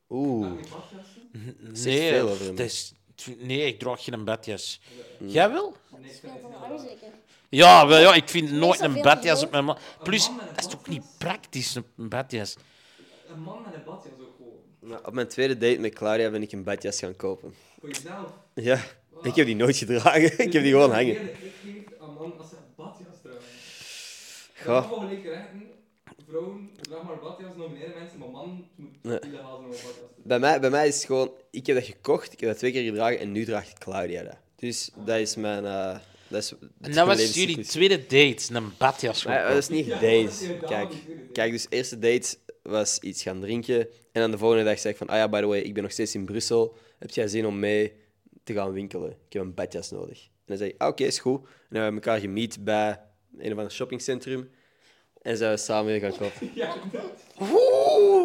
A: Oeh.
D: Dragen die badjassen?
A: zegt
B: Nee,
A: veel over hem.
B: dat is- nee, ik draag geen badjas. Jij wel?
D: Nee, ik vind
E: Ik
D: het
E: ben
D: niet.
E: dan arm zeker.
B: Ja, wel, ja, ik vind nooit
E: zoveel
B: een badjas
E: leuk.
B: op mijn man. Plus,
D: man met een
B: dat is toch
D: badjas?
B: niet praktisch, een badjas.
D: Een man met een badjas ook gewoon.
A: Nou, op mijn tweede date met Claudia ben ik een badjas gaan kopen.
D: Voor jezelf.
A: Ja. Ik heb die nooit gedragen. Ik heb die gewoon hangen.
D: Ik geef aan man als ze een badjas dragen.
A: Goh.
D: Goh. Vrouwen gelijk rechten. Vrouwen, draag maar badjas, nomineren mensen, maar man moet
A: Nee.
D: illegaal zijn om een badjas te
A: Bij mij, bij mij is het gewoon, ik heb dat gekocht, ik heb dat twee keer gedragen en nu draagt Claudia dat. Dus dat is mijn. eh, dat is, dat is
B: En dat
A: mijn
B: was
A: levenscyclus.
B: jullie tweede date, een badjas.
A: Maar Eh, dat is niet
D: Ja,
A: deze.
D: ja,
A: Kijk,
D: natuurlijk.
A: kijk, dus eerste date was iets gaan drinken. En dan de volgende dag zei ik van, ah ja, by the way, ik ben nog steeds in Brussel. Heb jij zin om mee te gaan winkelen? Ik heb een badjas nodig. En dan zei ik, ah, oké, is goed. En dan hebben we elkaar gemiet bij een of ander shoppingcentrum. En zijn we samen weer gaan kopen.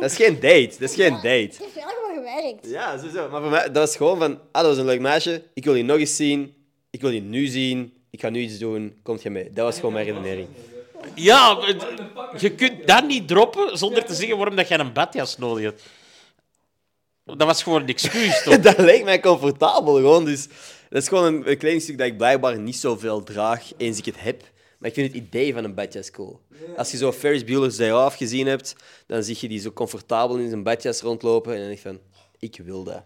A: Dat is geen date, dat is geen date.
E: Het heeft wel gewoon gewerkt.
A: Ja, sowieso. Maar voor mij, dat was gewoon van... Ah, dat was een leuk meisje. Ik wil je nog eens zien. Ik wil je nu zien. Ik ga nu iets doen. Komt je mee? Dat was gewoon mijn redenering.
B: Ja, maar d- je kunt dat niet droppen zonder te zeggen waarom dat jij een badjas nodig hebt. Dat was gewoon een excuus, toch?
A: Dat leek mij comfortabel gewoon. Dus dat is gewoon een, een kledingstuk dat ik blijkbaar niet zoveel draag eens ik het heb. Maar ik vind het idee van een badjas cool. Als je zo Ferris Bueller's Day Off gezien hebt, dan zie je die zo comfortabel in zijn badjas rondlopen. En dan denk je van, ik wil dat.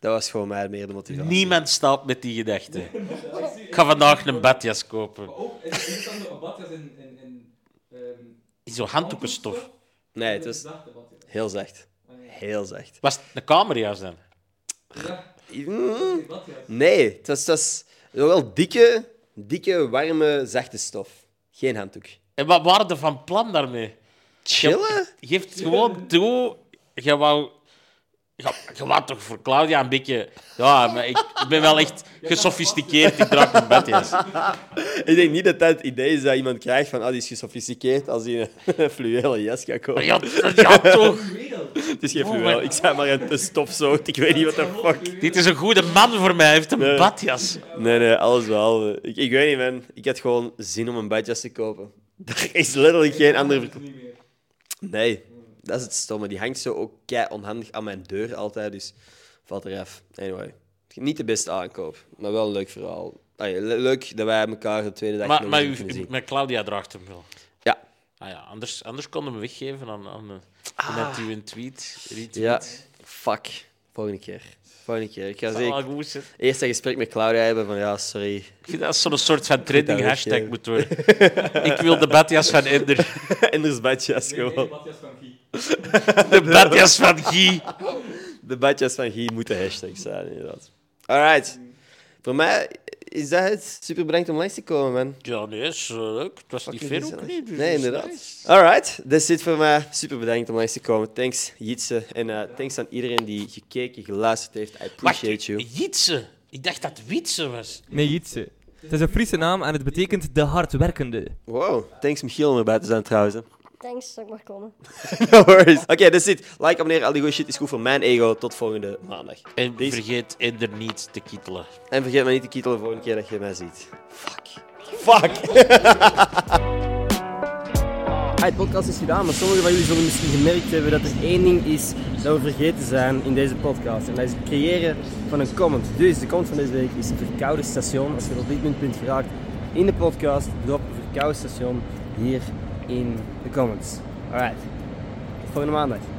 A: Dat was voor mij meer de motivatie.
B: Niemand staat met die gedachte. Ik ga vandaag een badjas kopen.
D: Maar ook, is is het dan zo een badjas in... in, in ehm,
B: In zo'n handdoekenstof.
A: Nee, het was
D: zachte badjas.
A: heel zacht. Heel zacht.
B: Was het een kamerjas dan?
D: Ja,
A: Mm.
D: die badjas.
A: Nee, het was, het was wel dikke, dikke, warme, zachte stof. Geen handdoek.
B: En wat waren er van plan daarmee?
A: Chillen?
B: Geeft gewoon toe. Je wou... Je, je wou toch voor Claudia een beetje... Ja, maar ik, ik ben wel echt gesofisticeerd. Ik draag een badjas.
A: Ik denk niet dat dat het idee is dat iemand krijgt van ah, die is gesofisticeerd als hij een fluwelen jas gaat kopen.
B: Ja, ja, toch.
A: Het is geen
B: Oh,
A: fluweel,
B: maar-
A: ik zei maar een stofzoot. Ik weet niet wat de fuck.
B: Dit is een goede man voor mij. Hij heeft een badjas.
A: Nee, nee, alles wel. Ik, ik weet niet, man. Ik had gewoon zin om een badjas te kopen. Er is letterlijk geen andere
D: Dat is
A: verklaring.
D: niet meer.
A: Nee, dat is het stomme. Die hangt zo ook kei onhandig aan mijn deur altijd, dus valt eraf. Anyway, niet de beste aankoop, maar wel een leuk verhaal. Allee, le- leuk dat wij elkaar de tweede dag nog
B: Maar,
A: eens
B: maar,
A: hebben
B: u-
A: kunnen zien.
B: maar Claudia draagt hem wel.
A: Ja.
B: Ah ja, anders, anders konden we hem weggeven aan, aan eh, net u een tweet. retweet.
A: Ja, fuck. Volgende keer. Volgende keer. Ik ga
B: Dat zou wel
A: zeker
B: goed zijn.
A: eerst een gesprek met Claudia hebben van ja, sorry.
B: Ik vind dat zo'n soort van trending
A: dat
B: hashtag
A: weggeven.
B: moet worden. Ik wil de badjas van Ender.
A: Anders badjas
D: Nee, nee,
A: gewoon.
D: badjas van Guy.
B: De badjas van Guy.
A: De badjas van Guy moeten hashtags zijn, inderdaad. Alright. Voor mij Is dat het? Super bedankt om langs te komen, man.
B: Ja, nee, is eh, leuk. Het was niet
A: Fucking
B: ver ook
A: gezellig.
B: niet. dus
A: Nee,
B: dat is
A: inderdaad.
B: nice.
A: Alright, dat is het voor mij. Super bedankt om langs te komen. Thanks, Jitse. En eh, thanks aan iedereen die gekeken, geluisterd heeft. I
B: Wacht,
A: appreciate you.
B: Jitse. Ik dacht dat Wietse was.
C: Nee, Jitse. Het is een Friese naam en het betekent de hardwerkende.
A: Wow, thanks Michiel om erbij te zijn trouwens. hè.
E: Thanks dat ik mag komen.
A: No worries. Oké, dat is het. Like, abonneer, al die goede shit is goed voor mijn ego. Tot volgende maandag.
B: En
A: Peace.
B: vergeet er niet te kittelen.
A: En vergeet me niet te kietelen de volgende keer dat je mij ziet. Fuck. Fuck.
F: Hey, het podcast is gedaan, maar sommigen van jullie zullen misschien gemerkt hebben dat er één ding is dat we vergeten zijn in deze podcast. En dat is het creëren van een comment. Dus de comment van deze week is Verkoude Station. Als je tot dit punt bent geraakt in de podcast, drop Verkoude Station hier in de comments. Alright, tot volgende maandag.